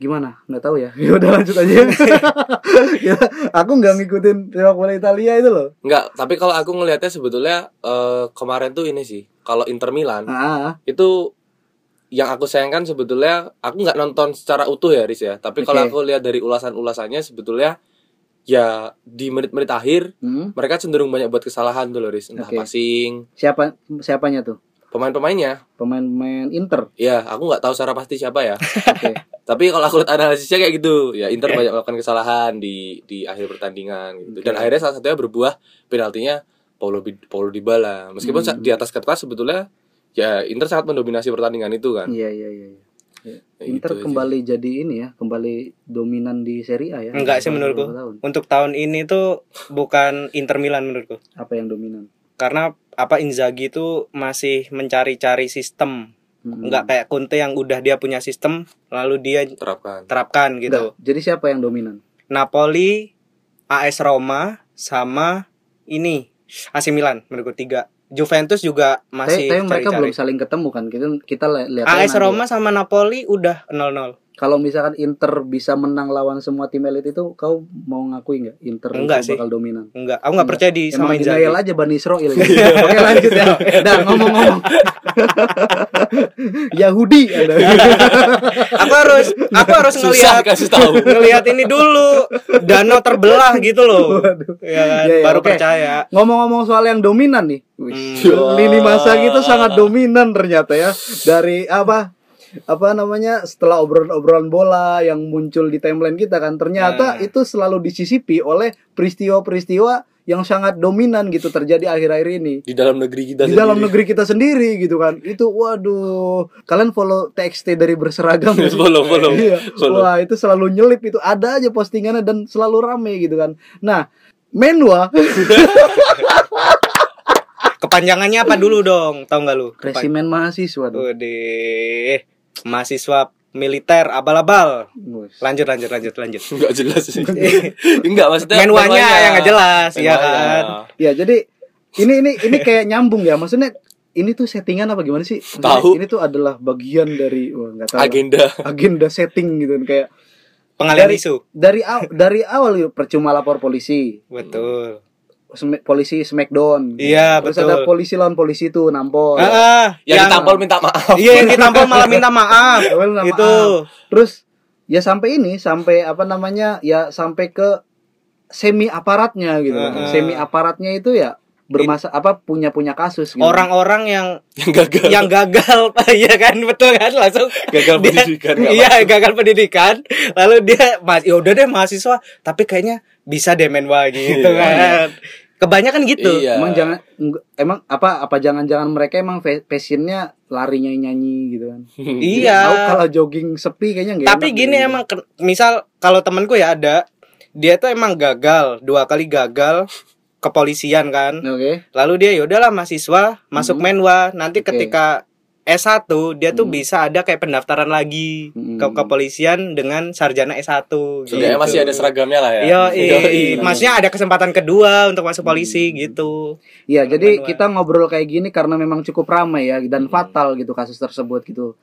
Speaker 2: Gimana? Nggak tahu ya. Ya udah lanjut aja. Ya, aku nggak ngikutin sepak bola Italia itu loh.
Speaker 1: Enggak, tapi kalau aku ngelihatnya sebetulnya eh, kemarin tuh ini sih, kalau Inter Milan
Speaker 2: Ah,
Speaker 1: itu yang aku sayangkan sebetulnya aku nggak nonton secara utuh ya Riz ya, tapi kalau
Speaker 2: Oke.
Speaker 1: aku lihat dari ulasan-ulasannya sebetulnya ya di menit-menit akhir
Speaker 2: hmm.
Speaker 1: mereka cenderung banyak buat kesalahan tuh loh Riz, entah
Speaker 2: Oke.
Speaker 1: passing
Speaker 2: Siapa siapanya tuh?
Speaker 1: pemain-pemainnya.
Speaker 2: Pemain-pemain Inter.
Speaker 1: Ya, aku nggak tahu secara pasti siapa ya.
Speaker 2: Oke.
Speaker 1: Tapi kalau aku lihat analisisnya kayak gitu, ya Inter banyak melakukan kesalahan di di akhir pertandingan gitu. Dan
Speaker 2: Oke.
Speaker 1: akhirnya salah satunya berbuah penaltinya Paulo Bi- Paulo Dybala. Meskipun sa-
Speaker 2: Hmm.
Speaker 1: di atas kertas sebetulnya ya Inter sangat mendominasi pertandingan itu kan.
Speaker 2: Iya, iya, iya. iya.
Speaker 1: Ya, gitu
Speaker 2: Inter
Speaker 1: aja.
Speaker 2: kembali jadi ini ya, kembali dominan di Serie A ya.
Speaker 3: Enggak sih
Speaker 2: Setelah
Speaker 3: menurutku.
Speaker 2: beberapa tahun.
Speaker 3: Untuk tahun ini tuh bukan Inter Milan menurutku.
Speaker 2: Apa yang dominan?
Speaker 3: Karena apa Inzaghi itu masih mencari-cari sistem.
Speaker 2: Mm-mm.
Speaker 3: Enggak kayak Conte yang udah dia punya sistem lalu dia
Speaker 1: terapkan.
Speaker 3: terapkan
Speaker 2: Enggak.
Speaker 3: gitu.
Speaker 2: Jadi siapa yang dominan?
Speaker 3: Napoli, AS Roma sama ini AC Milan menurutku tiga. Juventus juga
Speaker 2: Tapi,
Speaker 3: masih
Speaker 2: tapi mereka belum
Speaker 3: cari-cari.
Speaker 2: saling ketemu kan. Kita kita li- lihat
Speaker 3: AS
Speaker 2: aja.
Speaker 3: Roma sama Napoli udah 0-0.
Speaker 2: Kalau misalkan Inter bisa menang lawan semua tim elit itu, kau mau ngakui nggak Inter
Speaker 3: Enggak
Speaker 2: itu
Speaker 3: sih.
Speaker 2: bakal dominan?
Speaker 3: Enggak, aku enggak percaya di sama
Speaker 2: Emang
Speaker 3: Inzaghi.
Speaker 2: denial aja Bani Israel
Speaker 3: Iya.
Speaker 2: gitu. Oke lanjut ya Nah ngomong-ngomong Yahudi ada.
Speaker 3: Aku harus aku harus
Speaker 1: Susah
Speaker 3: ngelihat
Speaker 1: kasih tahu.
Speaker 3: ngelihat ini dulu danau terbelah gitu loh
Speaker 2: Waduh.
Speaker 3: ya kan?
Speaker 2: Ya, ya,
Speaker 3: baru
Speaker 2: oke.
Speaker 3: percaya
Speaker 2: Ngomong-ngomong soal yang dominan nih Wih,
Speaker 1: Hmm.
Speaker 2: Lini masa kita sangat dominan ternyata ya Dari apa apa namanya setelah obrolan-obrolan bola yang muncul di timeline kita kan
Speaker 1: Nah.
Speaker 2: ternyata
Speaker 3: Hmm.
Speaker 2: itu selalu disisipi oleh peristiwa-peristiwa yang sangat dominan gitu terjadi akhir-akhir ini
Speaker 1: Di dalam negeri kita
Speaker 2: di dalam negeri kita sendiri gitu kan itu waduh kalian follow TXT dari berseragam ya?
Speaker 1: follow follow.
Speaker 2: Iya.
Speaker 1: follow.
Speaker 2: wah itu selalu nyelip itu ada aja postingannya dan selalu rame gitu kan nah Menua
Speaker 3: Hmm, kepanjangannya apa dulu dong tahu nggak lu Kepan-
Speaker 2: resimen mahasiswa tuh
Speaker 3: Udeh. mahasiswa militer abal-abal lanjut lanjut lanjut lanjut
Speaker 1: Enggak jelas sih. Enggak maksudnya
Speaker 3: menuanya yang nggak jelas
Speaker 1: Iya
Speaker 3: ya kan
Speaker 2: ya jadi ini ini ini kayak nyambung ya maksudnya ini tuh settingan apa gimana sih Maksudnya
Speaker 1: Tahu.
Speaker 2: ini tuh adalah bagian dari wah, nggak tahu lah.
Speaker 1: Agenda.
Speaker 2: agenda setting gitu kan. kayak
Speaker 3: pengalian
Speaker 2: Dari-
Speaker 3: isu
Speaker 2: dari aw- dari awal yuk, percuma lapor polisi
Speaker 3: betul
Speaker 2: Sme- polisi smackdown
Speaker 3: Iya,
Speaker 2: Terus
Speaker 3: betul.
Speaker 2: ada polisi lawan polisi tuh nampol
Speaker 3: ah, ah,
Speaker 1: Yang
Speaker 3: yang
Speaker 1: ditampol minta maaf.
Speaker 3: iya yang ditampol malah minta maaf
Speaker 2: Ya, well, minta
Speaker 3: itu
Speaker 2: maaf. terus ya sampai ini sampai apa namanya ya sampai ke semi aparatnya gitu kan.
Speaker 3: Heeh.
Speaker 2: semi aparatnya itu ya bermasa apa punya punya kasus gitu.
Speaker 3: orang-orang yang
Speaker 1: Yang gagal.
Speaker 3: yang gagal ya kan betul kan langsung
Speaker 1: gagal
Speaker 3: Dia-
Speaker 1: pendidikan. nggak
Speaker 3: iya gagal pendidikan lalu dia mas ya udah deh mahasiswa tapi kayaknya bisa deh main wah gitu kan kebanyakan gitu
Speaker 1: Iya.
Speaker 2: emang jangan engg- emang apa apa jangan-jangan mereka emang fa- passionnya larinya nyanyi gitu kan
Speaker 3: Iya.
Speaker 2: Tahu kalau jogging sepi kayaknya
Speaker 1: iya,
Speaker 2: nggak
Speaker 3: tapi
Speaker 2: enak
Speaker 3: gini
Speaker 2: gitu.
Speaker 3: emang ken- misal kalau temanku ya ada dia tuh emang gagal dua kali gagal kepolisian
Speaker 1: Nah.
Speaker 3: kan
Speaker 2: oke
Speaker 3: lalu dia ya udahlah mahasiswa masuk
Speaker 1: Mm-hmm.
Speaker 2: Mhm.
Speaker 3: menwa nanti
Speaker 2: Oke.
Speaker 3: ketika S1 dia tuh
Speaker 2: Mhm.
Speaker 3: bisa ada kayak pendaftaran lagi ke
Speaker 2: Mhm.
Speaker 3: kepolisian dengan sarjana S1 gitu.
Speaker 1: Seenggaknya Mm-hmm. masih ada seragamnya lah ya.
Speaker 3: Yo,
Speaker 1: Yoi. Mm-hmm.
Speaker 3: maksudnya ada kesempatan kedua untuk masuk polisi
Speaker 2: Hmm.
Speaker 3: gitu.
Speaker 2: Iya,
Speaker 3: Teman
Speaker 2: jadi
Speaker 3: gua.
Speaker 2: kita ngobrol kayak gini karena memang cukup ramai ya dan fatal gitu kasus tersebut gitu.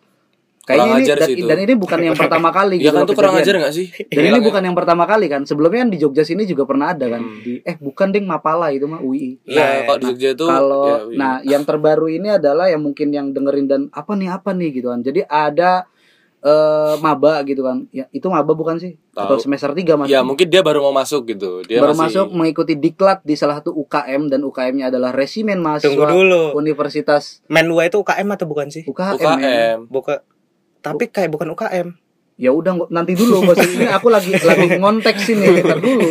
Speaker 2: Kayaknya
Speaker 1: Kurang
Speaker 2: ini
Speaker 1: ajar
Speaker 2: dan,
Speaker 1: sih itu.
Speaker 2: dan ini bukan yang pertama kali
Speaker 1: Iya
Speaker 2: gitu.
Speaker 1: kan
Speaker 2: loh
Speaker 1: tuh kurang ajar kan?
Speaker 2: kejadian.
Speaker 1: gak sih? Iya
Speaker 2: Dan ini bukan yang pertama kali kan. Sebelumnya kan di Jogja sini juga pernah ada kan.
Speaker 1: Hmm.
Speaker 2: Di- eh bukan ding Mapala itu mah UI.
Speaker 1: Iya,
Speaker 3: Nah,
Speaker 1: kalau di Jogja itu
Speaker 2: Kalau
Speaker 1: ya, iya.
Speaker 2: nah yang terbaru ini adalah yang mungkin yang dengerin dan apa nih apa nih gitu kan. Jadi ada eh maba gitu kan. Ya, itu maba bukan sih? Atau
Speaker 1: Tahu.
Speaker 2: semester 3 Mas.
Speaker 1: Ya mungkin dia baru mau masuk gitu. Dia
Speaker 2: baru
Speaker 1: masih
Speaker 2: masuk mengikuti diklat di salah satu UKM dan UKM-nya adalah resimen mahasiswa
Speaker 3: Tunggu dulu.
Speaker 2: Universitas
Speaker 3: Menwa itu UKM atau bukan sih?
Speaker 2: UKM. men.
Speaker 1: UKM.
Speaker 3: Buka. Tapi kayak bukan UKM.
Speaker 2: Ya udah nggak- nanti dulu bos ini aku lagi lagi ngontek sini ntar dulu.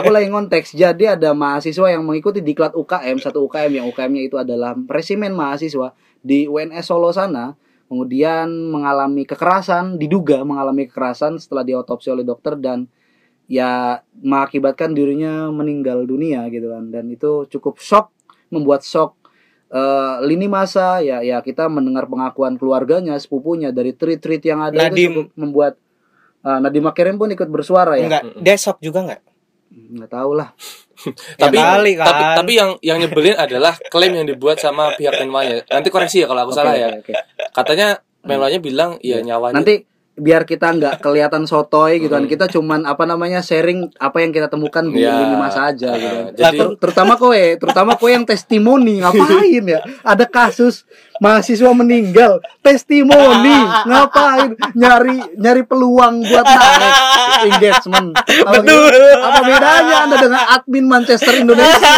Speaker 2: Aku lagi ngontek. Jadi ada mahasiswa yang mengikuti diklat UKM satu UKM yang UKM-nya itu adalah resimen mahasiswa di UNS Solo sana. Kemudian mengalami kekerasan, diduga mengalami kekerasan setelah diotopsi oleh dokter dan ya mengakibatkan dirinya meninggal dunia gitu kan dan itu cukup shock membuat shock eh, lini masa ya ya kita mendengar pengakuan keluarganya sepupunya dari tweet-tweet yang ada
Speaker 3: Nadiem.
Speaker 2: itu cukup membuat eh, Nadiem Makarim pun ikut bersuara ya
Speaker 3: Enggak, dia shock juga enggak?
Speaker 2: nggak tahu lah
Speaker 1: Tapi,
Speaker 3: Ya kali kan.
Speaker 1: tapi tapi yang yang nyebelin adalah klaim yang dibuat sama pihak Menwanya. Nanti koreksi ya kalau aku
Speaker 2: Oke,
Speaker 1: salah ya.
Speaker 2: oke, oke.
Speaker 1: Katanya Menwanya bilang ya nyawanya
Speaker 2: nanti biar kita nggak kelihatan sotoy gitu kan
Speaker 1: Hmm.
Speaker 2: kita cuman apa namanya sharing apa yang kita temukan di
Speaker 1: Ya.
Speaker 2: lini masa aja gitu kan.
Speaker 1: Eh, jadi-
Speaker 2: Ter- terutama kowe terutama kowe yang testimoni ngapain ya ada kasus mahasiswa meninggal testimoni ngapain nyari nyari peluang buat naik engagement apa, Oh, iya. apa bedanya anda dengan admin Manchester Indonesia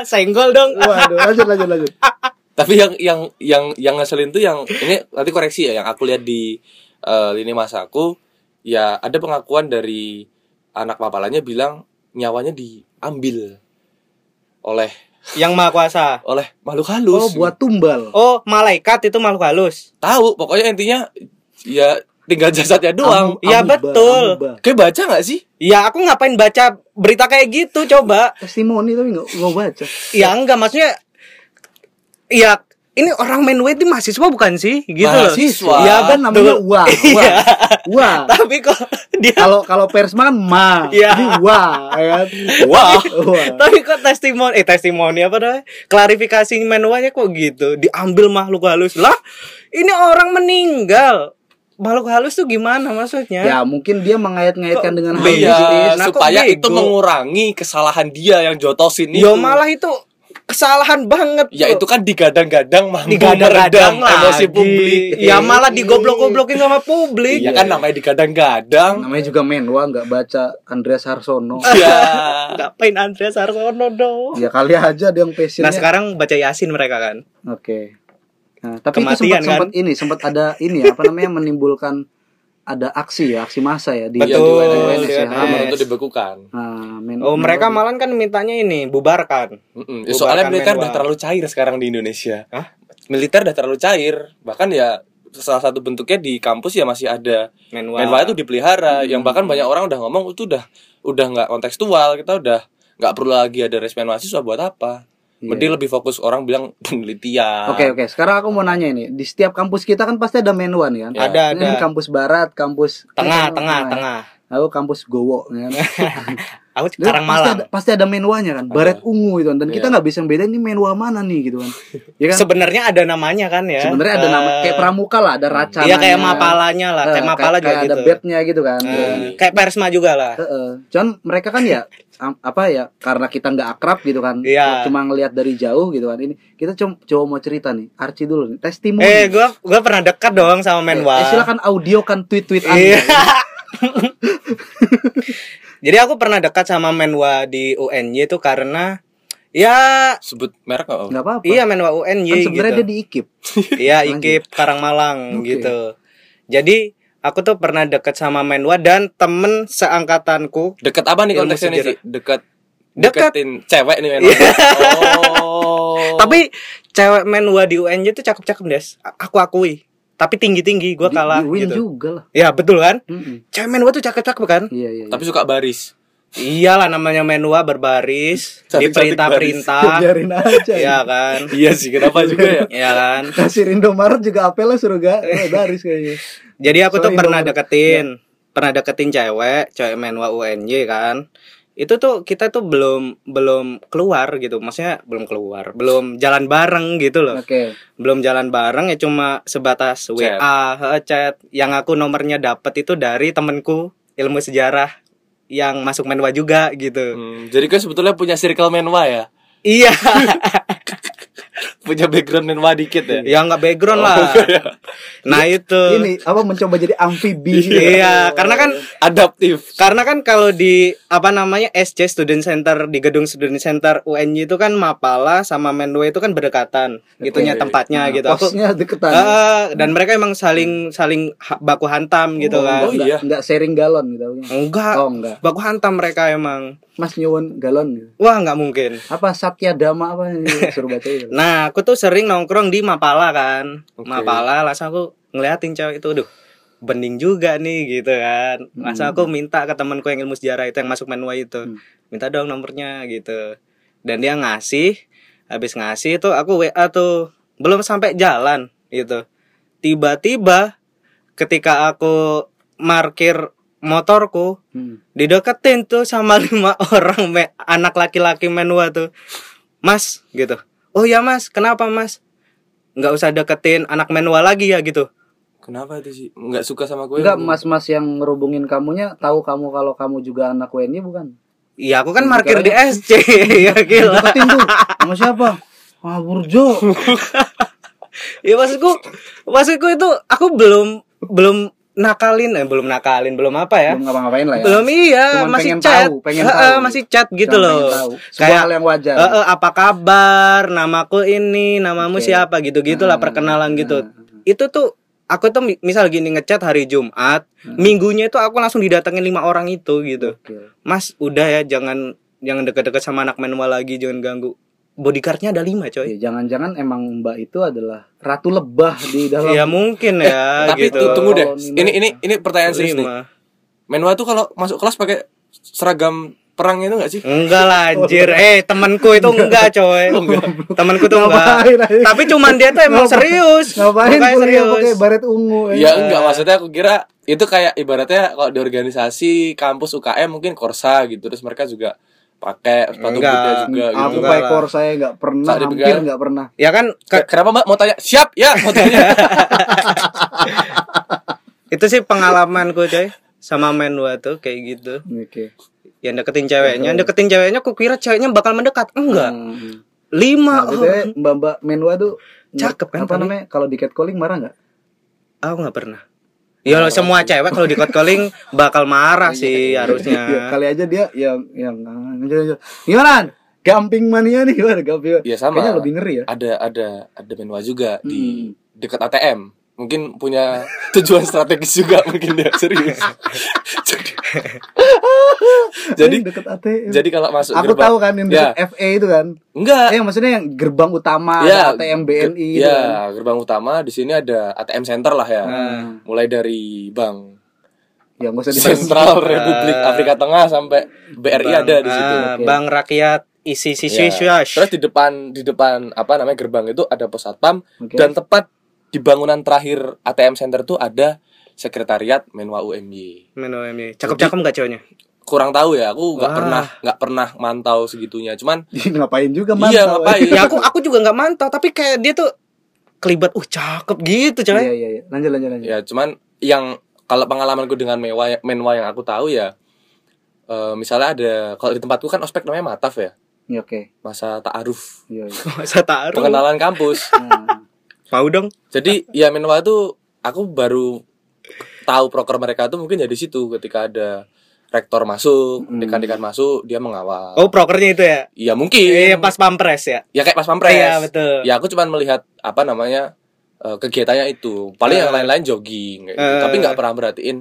Speaker 3: Senggol dong.
Speaker 2: waduh lanjut lanjut lanjut
Speaker 1: tapi yang yang yang yang ngeselin tuh yang ini nanti koreksi ya yang aku lihat di eh, lini masa aku ya ada pengakuan dari anak papalanya bilang nyawanya diambil oleh
Speaker 3: Yang Maha Kuasa.
Speaker 1: oleh makhluk halus
Speaker 2: oh buat tumbal
Speaker 3: Oh, malaikat itu makhluk halus.
Speaker 1: tahu pokoknya intinya ya tinggal jasadnya doang
Speaker 3: Ya,
Speaker 1: Iya.
Speaker 2: Amu- amuba,
Speaker 3: betul.
Speaker 2: amuba.
Speaker 1: kayak baca nggak sih
Speaker 3: Ya, aku ngapain baca berita kayak gitu coba?
Speaker 2: testimoni tapi nggak nggak baca
Speaker 3: Ya enggak maksudnya Ya ini orang main weight ini mahasiswa bukan sih? Gitu loh.
Speaker 1: Mahasiswa.
Speaker 3: Ya
Speaker 2: kan namanya
Speaker 3: betul.
Speaker 2: uang
Speaker 3: Iya.
Speaker 2: uang
Speaker 3: Tapi kok dia
Speaker 2: kalau kalau persma kan ma
Speaker 3: Iya.
Speaker 2: ini wa ya kan
Speaker 1: wah
Speaker 2: Wa.
Speaker 3: tapi kok testimoni eh testimoni apa namanya? Klarifikasi manualnya kok gitu? Diambil makhluk halus. Lah, ini orang meninggal. Makhluk halus tuh gimana maksudnya?
Speaker 2: ya mungkin dia mengait-ngaitkan dengan hal
Speaker 1: Iya,
Speaker 2: mistis
Speaker 3: Nah, kok
Speaker 1: supaya
Speaker 3: bego?
Speaker 1: itu mengurangi kesalahan dia yang jotosin itu.
Speaker 3: Yo Ya, malah itu kesalahan banget.
Speaker 1: ya
Speaker 3: loh.
Speaker 1: itu kan digadang-gadang mampu
Speaker 3: digadang-gadang
Speaker 1: meredam
Speaker 3: lagi.
Speaker 1: emosi publik.
Speaker 3: Ya malah digoblok-goblokin sama publik.
Speaker 1: Iya kan namanya digadang-gadang.
Speaker 2: namanya juga menwa nggak baca Andreas Harsono
Speaker 3: Nah, Iya.
Speaker 1: Ya.
Speaker 3: Ngapain Andreas Arsono dong?
Speaker 2: ya kali aja dia yang
Speaker 3: Nah
Speaker 2: passionnya
Speaker 3: sekarang baca Yasin mereka kan.
Speaker 2: oke nah, tapi itu
Speaker 3: Kematian,
Speaker 2: sempat
Speaker 3: kan?
Speaker 2: sempat ini sempat ada ini ya, apa namanya menimbulkan ada aksi ya aksi massa ya di
Speaker 1: Iya,
Speaker 3: Betul,
Speaker 1: di
Speaker 2: di
Speaker 1: UNS,
Speaker 2: UNS ya.
Speaker 3: di
Speaker 1: ya,
Speaker 3: UNS.
Speaker 1: menuntut dibekukan.
Speaker 2: Nah, men-
Speaker 1: Hmm.
Speaker 3: Oh mereka
Speaker 2: menurut-
Speaker 3: malah kan mintanya ini bubarkan.
Speaker 1: Mm-mm. Ya, soalnya
Speaker 3: Bubarkan
Speaker 1: militer
Speaker 3: Menwa.
Speaker 1: udah terlalu cair sekarang di Indonesia.
Speaker 3: Hah?
Speaker 1: Militer udah terlalu cair. Bahkan ya salah satu bentuknya di kampus ya masih ada
Speaker 3: Menwa.
Speaker 1: menwa itu dipelihara
Speaker 3: Hmm.
Speaker 1: yang bahkan banyak orang udah ngomong itu udah udah nggak kontekstual kita udah nggak perlu lagi ada respon mahasiswa buat apa
Speaker 2: Iya.
Speaker 1: mending lebih fokus orang bilang penelitian
Speaker 2: Oke oke, sekarang aku mau nanya ini. Di setiap kampus kita kan pasti ada menwan
Speaker 1: Ya. Hmm,
Speaker 2: kan?
Speaker 3: Ada
Speaker 2: Ini
Speaker 3: Iya, ada.
Speaker 2: kampus barat, kampus
Speaker 3: Tengah
Speaker 2: eh,
Speaker 3: tengah tengah.
Speaker 2: Lalu kampus Gowo ya kan.
Speaker 3: Aku
Speaker 2: Dan
Speaker 3: sekarang
Speaker 2: pasti
Speaker 3: malam.
Speaker 2: ada, pasti ada menwanya kan, baret ungu itu kan. Dan kita
Speaker 1: Iya.
Speaker 2: nggak bisa bedain ini menwa mana nih gitu kan. Ya kan?
Speaker 3: Sebenarnya ada namanya kan ya.
Speaker 2: Sebenarnya ada nama
Speaker 3: Eh,
Speaker 2: kayak pramuka lah, ada racana.
Speaker 3: Iya kayak mapalanya lah, kayak mapala juga
Speaker 2: ada
Speaker 3: gitu.
Speaker 2: bednya gitu kan.
Speaker 3: Eh,
Speaker 2: Iya.
Speaker 3: kayak persma juga lah.
Speaker 2: Heeh. Cuman mereka kan ya am- apa ya karena kita nggak akrab gitu kan.
Speaker 3: Iya.
Speaker 2: Cuma ngelihat dari jauh gitu kan. Ini kita cuma coba mau cerita nih. Arci dulu nih, testimoni.
Speaker 3: Eh gua gua pernah dekat dong sama Menwa.
Speaker 2: Eh, silakan audiokan tweet-tweet
Speaker 3: Iya.
Speaker 2: Anda.
Speaker 3: Jadi aku pernah dekat sama Menwa di UNY itu karena ya
Speaker 1: sebut merek nggak Om?
Speaker 2: Enggak apa-apa.
Speaker 3: iya Menwa UNY
Speaker 2: kan sebenarnya
Speaker 3: gitu.
Speaker 2: dia diikip.
Speaker 3: Iya
Speaker 2: Lanjut.
Speaker 3: IKIP Karangmalang
Speaker 2: Oke.
Speaker 3: gitu. Jadi aku tuh pernah dekat sama Menwa dan temen seangkatanku.
Speaker 1: Deket apa nih
Speaker 3: Ilmu
Speaker 1: konteksnya nih
Speaker 3: sejarah.
Speaker 1: sih? Deket
Speaker 3: Deket.
Speaker 1: Deketin cewek nih men. Oh.
Speaker 3: Tapi cewek Menwa di UNY itu cakep-cakep, Des. A- Aku akui. Tapi tinggi-tinggi gua
Speaker 2: Di-
Speaker 3: kalah
Speaker 2: di win
Speaker 3: gitu.
Speaker 2: juga lah.
Speaker 3: Ya betul kan?
Speaker 2: Mm-mm.
Speaker 3: Cewek Menwa tuh cakep-cakep kan?
Speaker 2: Iya, iya.
Speaker 1: tapi suka baris.
Speaker 3: Iyalah namanya Menwa berbaris,
Speaker 1: Cantik-cantik
Speaker 2: iya.
Speaker 3: diperintah-perintah.
Speaker 2: biarin aja.
Speaker 3: Iya kan?
Speaker 1: Iya sih, kenapa juga ya?
Speaker 3: Iya kan?
Speaker 2: Kasir Indomaret juga apelnya suruh gak baris kayaknya.
Speaker 3: Jadi aku tuh
Speaker 2: Sorry,
Speaker 3: pernah
Speaker 2: Bang.
Speaker 3: deketin, pernah deketin cewek, cewek menwa UNY kan. Itu tuh kita tuh belum belum keluar gitu, maksudnya belum keluar, belum jalan bareng gitu loh.
Speaker 2: Oke.
Speaker 3: Belum jalan bareng ya cuma sebatas WA, he- chat. Yang aku nomornya dapet itu dari temenku ilmu sejarah yang masuk menwa juga gitu.
Speaker 1: Hmm, jadi kan sebetulnya punya circle menwa ya.
Speaker 3: Iya,
Speaker 1: punya background Nenwa dikit ya.
Speaker 3: Ya nggak background lah.
Speaker 1: Iya.
Speaker 3: Nah itu.
Speaker 2: ini apa mencoba jadi amfibi Eh,
Speaker 3: Iya, karena kan
Speaker 1: Adaptif.
Speaker 3: karena kan kalau di apa namanya SC Student Center di gedung Student Center UNY itu kan Mapala sama Menwe itu kan berdekatan gitunya
Speaker 1: Oke.
Speaker 3: tempatnya
Speaker 2: Nah,
Speaker 3: gitu. Aku
Speaker 2: posnya deketan
Speaker 3: Eh, dan mereka emang saling saling ha- baku hantam gitu kan.
Speaker 1: Oh, iya.
Speaker 2: Enggak sharing galon gitu.
Speaker 3: Enggak,
Speaker 2: Oh, enggak.
Speaker 3: baku hantam mereka emang.
Speaker 2: Mas nyewon galon gitu.
Speaker 3: Wah, nggak mungkin.
Speaker 2: Apa Satya Dama apa ini suruh baca gitu.
Speaker 3: Nah, aku tuh sering nongkrong di Mapala kan.
Speaker 1: Oke.
Speaker 3: Mapala, langsung aku ngeliatin cewek itu, aduh, bening juga nih gitu kan. Langsung
Speaker 2: Hmm.
Speaker 3: aku minta ke temanku yang ilmu sejarah itu yang masuk Menwa itu.
Speaker 2: Hmm.
Speaker 3: Minta dong nomornya gitu. Dan dia ngasih, habis ngasih tuh aku WA tuh belum sampai jalan gitu. Tiba-tiba ketika aku markir motorku,
Speaker 2: Hmm.
Speaker 3: dideketin tuh sama lima orang me- anak laki-laki menua tuh mas gitu oh ya mas kenapa mas nggak usah deketin anak menua lagi ya gitu
Speaker 1: Kenapa itu sih? Enggak suka sama gue.
Speaker 2: Enggak mas-mas yang ngerubungin kamunya tahu kamu kalau kamu juga anak WNI bukan?
Speaker 3: Iya aku kan
Speaker 2: Gitu
Speaker 3: markir
Speaker 2: aja.
Speaker 3: di SC ya gila
Speaker 2: Deketin tuh. Sama siapa? Ah Burjo.
Speaker 3: ya maksudku maksudku itu aku belum belum nakalin eh, belum nakalin belum apa ya
Speaker 2: Belum ngapa-ngapain lah ya.
Speaker 3: belum iya
Speaker 2: Cuman
Speaker 3: masih
Speaker 2: pengen
Speaker 3: chat
Speaker 2: tahu, pengen
Speaker 3: Heeh,
Speaker 2: tahu.
Speaker 3: masih chat gitu
Speaker 2: Cuman
Speaker 3: loh
Speaker 2: pengen tahu. Sebuah
Speaker 3: Kayak,
Speaker 2: hal yang wajar.
Speaker 3: Eh, eh, apa kabar namaku ini namamu
Speaker 2: Oke.
Speaker 3: siapa gitu gitulah
Speaker 2: Ah,
Speaker 3: perkenalan gitu
Speaker 2: ah, ah.
Speaker 3: itu tuh aku tuh mi- misal gini ngechat hari Jumat,
Speaker 2: Hmm.
Speaker 3: minggunya itu aku langsung didatengin lima orang itu gitu.
Speaker 2: Oke.
Speaker 3: Mas, udah ya jangan jangan deket-deket sama anak manual lagi, jangan ganggu. Bodyguardnya ada lima coy.
Speaker 2: Ya, jangan-jangan emang Mbak itu adalah ratu lebah di dalam
Speaker 3: Ya mungkin ya
Speaker 1: Tapi
Speaker 3: gitu.
Speaker 1: tuh, tunggu deh.
Speaker 2: Kalau Nino-
Speaker 1: Ini ini ini pertanyaan serius nih.
Speaker 3: lima.
Speaker 1: Menwa tuh kalau masuk kelas pakai seragam perang itu enggak sih?
Speaker 3: Enggak lah anjir. Eh, temanku itu enggak coy. Temanku tuh enggak.
Speaker 2: Oh, Ngapain aja?
Speaker 3: Tapi cuman dia tuh emang
Speaker 2: Ngapa-
Speaker 3: serius.
Speaker 2: Ngapain
Speaker 3: Mukanya
Speaker 2: kuliah
Speaker 3: serius.
Speaker 2: pakai baret ungu? eh?
Speaker 1: Ya enggak maksudnya aku kira itu kayak ibaratnya kalau di organisasi kampus UKM mungkin korsa gitu terus mereka juga pakai sepatu
Speaker 3: Enggak.
Speaker 1: kuda juga gitu.
Speaker 2: Aku
Speaker 3: Enggak
Speaker 2: pakai
Speaker 3: lah.
Speaker 2: kor saya nggak pernah,
Speaker 1: Saat dipegang.
Speaker 2: hampir nggak pernah.
Speaker 3: Ya kan
Speaker 1: Ke- Kenapa Mbak mau tanya? Siap ya mau tanya.
Speaker 3: itu sih pengalamanku coy sama menua tuh kayak gitu.
Speaker 2: Oke.
Speaker 3: yang deketin ceweknya deketin ceweknya aku kira ceweknya bakal mendekat enggak
Speaker 2: Hmm.
Speaker 3: lima Oh,
Speaker 2: Nah, BTW,
Speaker 3: orang.
Speaker 2: Mbak Mbak Menwa tuh
Speaker 3: Cakep kan
Speaker 2: Apa
Speaker 3: tadi?
Speaker 2: namanya? Kalau di catcalling marah nggak?
Speaker 3: hmm. aku nggak pernah ya loh, semua cewek kalau di cold calling bakal marah
Speaker 1: Iya,
Speaker 3: sih
Speaker 2: Ya,
Speaker 3: harusnya
Speaker 2: kali aja dia yang yang gimana? Gamping mania nih gimana? Gamping.
Speaker 1: Iya sama.
Speaker 2: Kayaknya lebih ngeri ya.
Speaker 1: Ada ada ada Menwa juga di
Speaker 2: Hmm.
Speaker 1: dekat ATM. Mungkin punya tujuan strategis juga mungkin dia serius. jadi jadi,
Speaker 2: Eh, deket ATM.
Speaker 1: jadi kalau masuk gerbang
Speaker 2: aku
Speaker 1: Iya.
Speaker 2: tahu kan yang deket FA itu kan.
Speaker 1: enggak
Speaker 2: Eh maksudnya yang gerbang utama
Speaker 1: Ya,
Speaker 2: kan ada ATM BNI
Speaker 1: Ge-
Speaker 2: itu
Speaker 1: ya,
Speaker 2: kan.
Speaker 1: gerbang utama di sini ada ATM center lah ya.
Speaker 2: Nah,
Speaker 1: Mulai dari Bank
Speaker 2: ya nggak usah dibahas.
Speaker 1: Sentral Republik Afrika Tengah sampai BRI ada di situ.
Speaker 3: Ah, bang rakyat isi sisi
Speaker 1: Ya. Terus di depan di depan apa namanya gerbang itu ada pos satpam
Speaker 2: Oke.
Speaker 1: dan tepat di bangunan terakhir ATM center tuh ada sekretariat Menwa UMY.
Speaker 3: menua cakep cakep nggak ceweknya
Speaker 1: Kurang tahu ya, aku nggak
Speaker 3: Wah.
Speaker 1: pernah nggak pernah mantau segitunya. Cuman
Speaker 2: ngapain juga
Speaker 1: iya
Speaker 2: mantau, eh.
Speaker 1: ngapain?
Speaker 3: ya aku aku juga nggak mantau tapi kayak dia tuh kelibat uh cakep gitu
Speaker 2: Iya
Speaker 3: cewek
Speaker 2: iya iya. Lanjut lanjut lanjut.
Speaker 1: Ya cuman yang kalau pengalamanku dengan mewa menwa yang aku tahu ya eh, misalnya ada kalau di tempatku kan ospek namanya mataf ya
Speaker 2: Ya, Oke.
Speaker 1: masa ta'aruf
Speaker 2: Iya iya.
Speaker 3: masa taruh
Speaker 1: pengenalan kampus
Speaker 2: Nah,
Speaker 3: mau dong
Speaker 1: jadi ya menwa itu aku baru tahu proker mereka tuh mungkin ya di situ ketika ada rektor masuk
Speaker 2: Hmm.
Speaker 1: dekan-dekan masuk dia mengawal
Speaker 3: oh prokernya itu ya
Speaker 1: ya mungkin
Speaker 3: Iya pas pampres ya
Speaker 1: ya kayak pas pampres
Speaker 3: iya betul
Speaker 1: ya aku cuman melihat apa namanya eh, kegiatannya itu paling yang
Speaker 3: Eh.
Speaker 1: lain-lain jogging kayak gitu.
Speaker 3: Eh.
Speaker 1: tapi nggak pernah merhatiin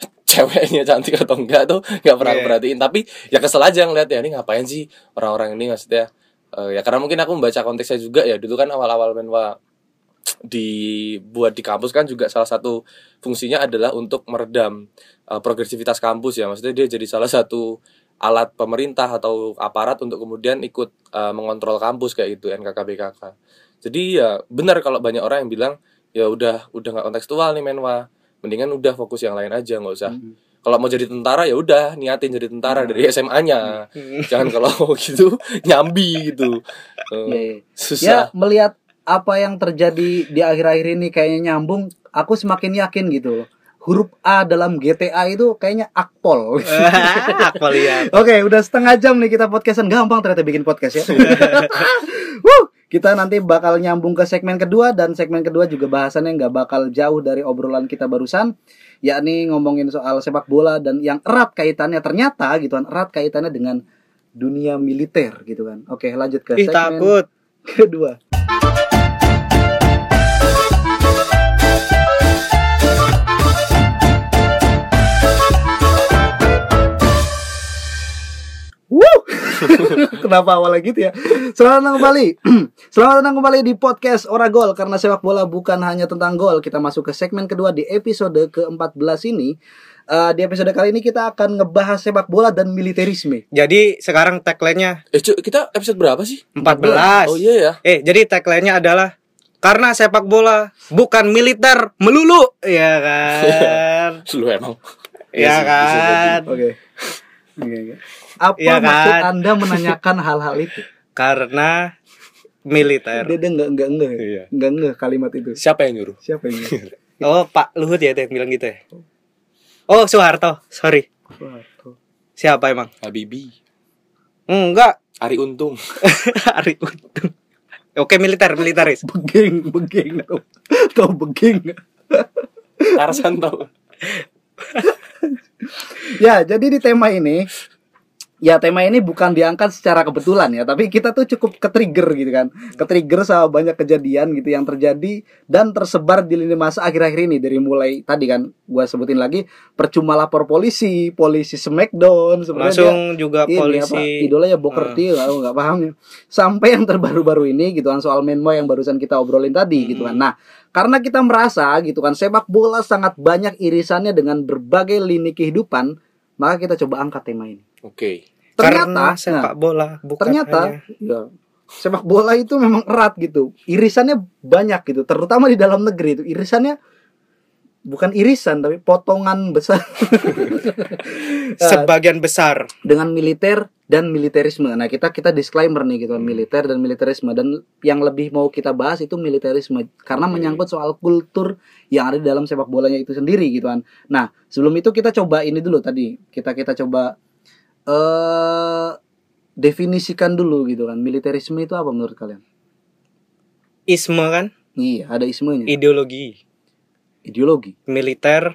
Speaker 1: ceweknya cantik atau enggak tuh nggak pernah
Speaker 3: Iya.
Speaker 1: aku perhatiin tapi ya kesel aja ngeliat ya ini ngapain sih orang-orang ini maksudnya Eh, ya karena mungkin aku membaca konteksnya juga ya dulu kan awal-awal menwa dibuat di kampus kan juga salah satu fungsinya adalah untuk meredam eh, progresivitas kampus ya maksudnya dia jadi salah satu alat pemerintah atau aparat untuk kemudian ikut eh, mengontrol kampus kayak gitu NKKBKK jadi ya benar kalau banyak orang yang bilang ya udah udah nggak kontekstual nih menwa mendingan udah fokus yang lain aja nggak usah
Speaker 2: Mm.
Speaker 1: kalau mau jadi tentara ya udah niatin jadi tentara dari SMA-nya
Speaker 3: Hmm.
Speaker 1: jangan kalau gitu nyambi gitu
Speaker 2: Iya,
Speaker 1: Eh,
Speaker 2: iya. ya
Speaker 1: susah
Speaker 2: melihat apa yang terjadi di akhir-akhir ini kayaknya nyambung aku semakin yakin gitu loh huruf A dalam GTA itu kayaknya akpol.
Speaker 1: Eh,
Speaker 3: Aku lihat.
Speaker 2: Oke, udah setengah jam nih kita podcastan. Gampang ternyata bikin podcast ya. Wuh, kita nanti bakal nyambung ke segmen kedua dan segmen kedua juga bahasannya nggak bakal jauh dari obrolan kita barusan, yakni ngomongin soal sepak bola dan yang erat kaitannya ternyata gitu kan, erat kaitannya dengan dunia militer gitu kan. Oke, lanjut ke
Speaker 3: Ih
Speaker 2: segmen
Speaker 3: takut.
Speaker 2: kedua. Wuh. Kenapa awalnya gitu ya? Selamat datang kembali. Selamat datang kembali di podcast Ora Gol karena sepak bola bukan hanya tentang gol. Kita masuk ke segmen kedua di episode ke-14 ini. Eh, di episode kali ini kita akan ngebahas sepak bola dan militerisme.
Speaker 3: Jadi sekarang tagline-nya
Speaker 1: Eh, cuy, kita episode berapa sih?
Speaker 3: 14.
Speaker 1: Oh iya ya.
Speaker 3: Eh, jadi tagline-nya adalah karena sepak bola bukan militer melulu, ya kan?
Speaker 1: Lu emang.
Speaker 2: Iya
Speaker 1: Iya
Speaker 3: ya kan?
Speaker 2: Oke. Oke, oke. Apa
Speaker 3: Iya kan?
Speaker 2: maksud Anda menanyakan hal-hal itu?
Speaker 3: Karena militer.
Speaker 2: Dia dia enggak enggak enggak.
Speaker 1: Iya.
Speaker 2: Enggak enggak kalimat itu.
Speaker 1: Siapa yang nyuruh?
Speaker 2: Siapa ini?
Speaker 3: Oh, Pak Luhut ya yang bilang gitu ya. Oh, Soeharto, sorry. Siapa emang?
Speaker 1: Habibi.
Speaker 3: Enggak,
Speaker 1: Ari Untung.
Speaker 3: Ari Untung. Oke, militer, militeris.
Speaker 2: Beging, beging. Tahu- Tahu beging. nggak?
Speaker 1: Tarsan tau.
Speaker 2: Ya, jadi di tema ini Ya tema ini bukan diangkat secara kebetulan ya Tapi kita tuh cukup ke-trigger gitu kan Ke-trigger sama banyak kejadian gitu yang terjadi Dan tersebar di lini masa akhir-akhir ini Dari mulai tadi kan gua sebutin lagi Percuma lapor polisi Polisi smackdown sebenarnya dia-
Speaker 3: Langsung juga
Speaker 2: ini
Speaker 3: polisi.
Speaker 2: apa, idola ya Booker
Speaker 3: Ah.
Speaker 2: T lah, aku nggak paham ya. sampai yang terbaru-baru ini gitu kan soal Menmo yang barusan kita obrolin tadi
Speaker 3: Hmm.
Speaker 2: gitu kan nah karena kita merasa gitu kan sepak bola sangat banyak irisannya dengan berbagai lini kehidupan maka kita coba angkat tema ini
Speaker 1: Oke.
Speaker 3: karena
Speaker 2: ternyata
Speaker 3: sepak
Speaker 2: nah,
Speaker 3: bola bukan
Speaker 2: ternyata
Speaker 3: hanya-
Speaker 2: ya, sepak bola itu memang erat gitu irisannya banyak gitu terutama di dalam negeri itu irisannya bukan irisan tapi potongan besar Nah,
Speaker 3: sebagian besar
Speaker 2: dengan militer dan militerisme. Nah, kita kita disclaimer nih gitu kan, militer dan militerisme dan yang lebih mau kita bahas itu militerisme karena
Speaker 1: Oke.
Speaker 2: menyangkut soal kultur yang ada di dalam sepak bolanya itu sendiri gitu kan. Nah, sebelum itu kita coba ini dulu tadi. Kita kita coba eh definisikan dulu gitu kan. Militerisme itu apa menurut kalian?
Speaker 3: isme kan
Speaker 2: Iya, ada ismenya.
Speaker 3: ideologi
Speaker 2: Ideologi.
Speaker 3: militer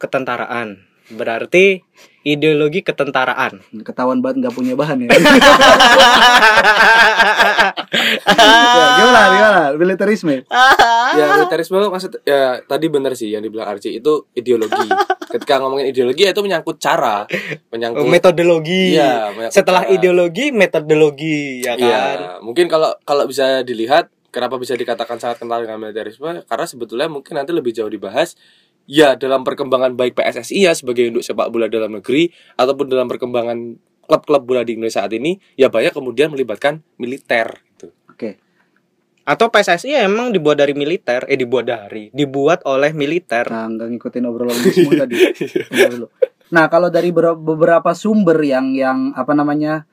Speaker 3: ketentaraan berarti ideologi ketentaraan
Speaker 2: Ketahuan banget nggak punya bahan ya. ya gimana, gimana? Militerisme.
Speaker 1: Ya militerisme maksud ya tadi bener sih yang dibilang Arci itu ideologi. Ketika ngomongin ideologi ya itu menyangkut cara, menyangkut
Speaker 3: Oh, metodologi
Speaker 1: Iya, menyangkut
Speaker 3: setelah
Speaker 1: cara.
Speaker 3: ideologi metodologi ya kan
Speaker 1: Iya, mungkin kalau kalau bisa dilihat kenapa bisa dikatakan sangat kental dengan militerisme karena sebetulnya mungkin nanti lebih jauh dibahas ya dalam perkembangan baik PSSI ya sebagai induk sepak bola dalam negeri ataupun dalam perkembangan klub-klub bola di Indonesia saat ini ya banyak kemudian melibatkan militer gitu.
Speaker 2: Oke.
Speaker 3: atau PSSI ya emang dibuat dari militer eh dibuat dari dibuat oleh militer
Speaker 2: Nah, nggak ngikutin obrolan lu semua tadi. Tunggu dulu. Nah, kalau dari ber- beberapa sumber yang yang apa namanya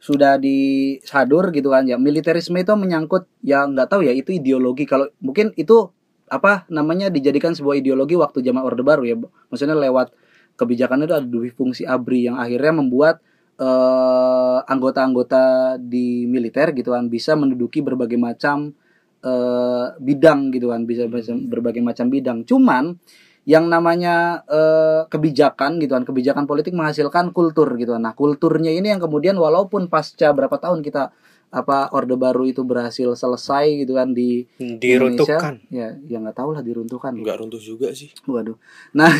Speaker 2: sudah disadur gitu kan ya militerisme itu menyangkut ya nggak tahu ya itu ideologi kalau mungkin itu apa namanya dijadikan sebuah ideologi waktu zaman Orde Baru ya maksudnya lewat kebijakan itu ada dua fungsi ABRI yang akhirnya membuat eh, anggota-anggota di militer gitu kan bisa menduduki berbagai macam eh, bidang gitu kan bisa bisa berbagai macam bidang cuman yang namanya eh, kebijakan gitu kan kebijakan politik menghasilkan kultur gitu kan. nah kulturnya ini yang kemudian walaupun pasca berapa tahun kita apa orde baru itu berhasil selesai gitu kan di
Speaker 3: diruntuhkan
Speaker 2: Indonesia, ya ya nggak tahu lah diruntuhkan
Speaker 1: Enggak runtuh juga sih.
Speaker 2: Waduh. Nah,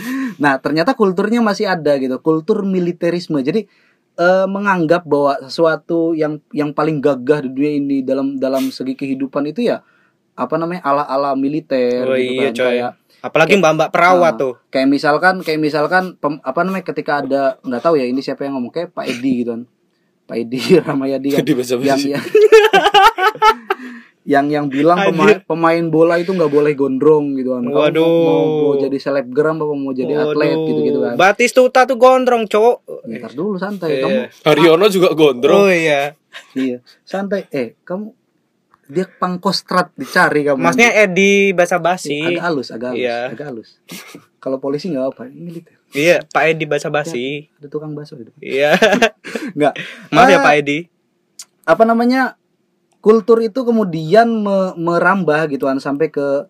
Speaker 2: nah ternyata kulturnya masih ada gitu, kultur militerisme. Jadi eh, menganggap bahwa sesuatu yang yang paling gagah di dunia ini dalam dalam segi kehidupan itu ya apa namanya ala-ala militer
Speaker 3: Oh,
Speaker 2: gitu
Speaker 3: iya,
Speaker 2: kan.
Speaker 3: coy.
Speaker 2: Kayak
Speaker 3: apalagi mbak-mbak perawat
Speaker 2: Ah.
Speaker 3: tuh
Speaker 2: kayak misalkan kayak misalkan pem- apa namanya ketika ada nggak tahu ya ini siapa yang ngomong kayak Pak Edi gitu kan. Pak Edi Ramayadi kan
Speaker 1: Di bahasa
Speaker 2: yang yang yang yang bilang pemain,
Speaker 3: Anjir.
Speaker 2: pemain bola itu nggak boleh gondrong gitu kan. Kamu mau-
Speaker 3: Waduh.
Speaker 2: Mau, mau jadi selebgram apa mau jadi atlet
Speaker 3: Waduh,
Speaker 2: gitu gitu kan. Ya,
Speaker 3: Batistuta tuh gondrong cowok
Speaker 2: Ntar dulu santai
Speaker 3: Iya.
Speaker 2: kamu.
Speaker 1: Haryono juga gondrong.
Speaker 3: Oh iya.
Speaker 2: Iya. Santai. Eh, kamu dia pangkostrat dicari kamu.
Speaker 3: Maksudnya Edi basa
Speaker 2: agak
Speaker 3: basi.
Speaker 2: halus, agak halus,
Speaker 3: Iya.
Speaker 2: agak halus. Kalau polisi nggak apa, ini militer.
Speaker 3: Iya, Pak Edi basa-basi.
Speaker 2: Ada tukang bakso di depan.
Speaker 3: Iya.
Speaker 2: Nggak.
Speaker 3: Maaf ya
Speaker 2: Ah.
Speaker 3: Pak Edi.
Speaker 2: apa namanya kultur itu kemudian me- merambah gituan sampai ke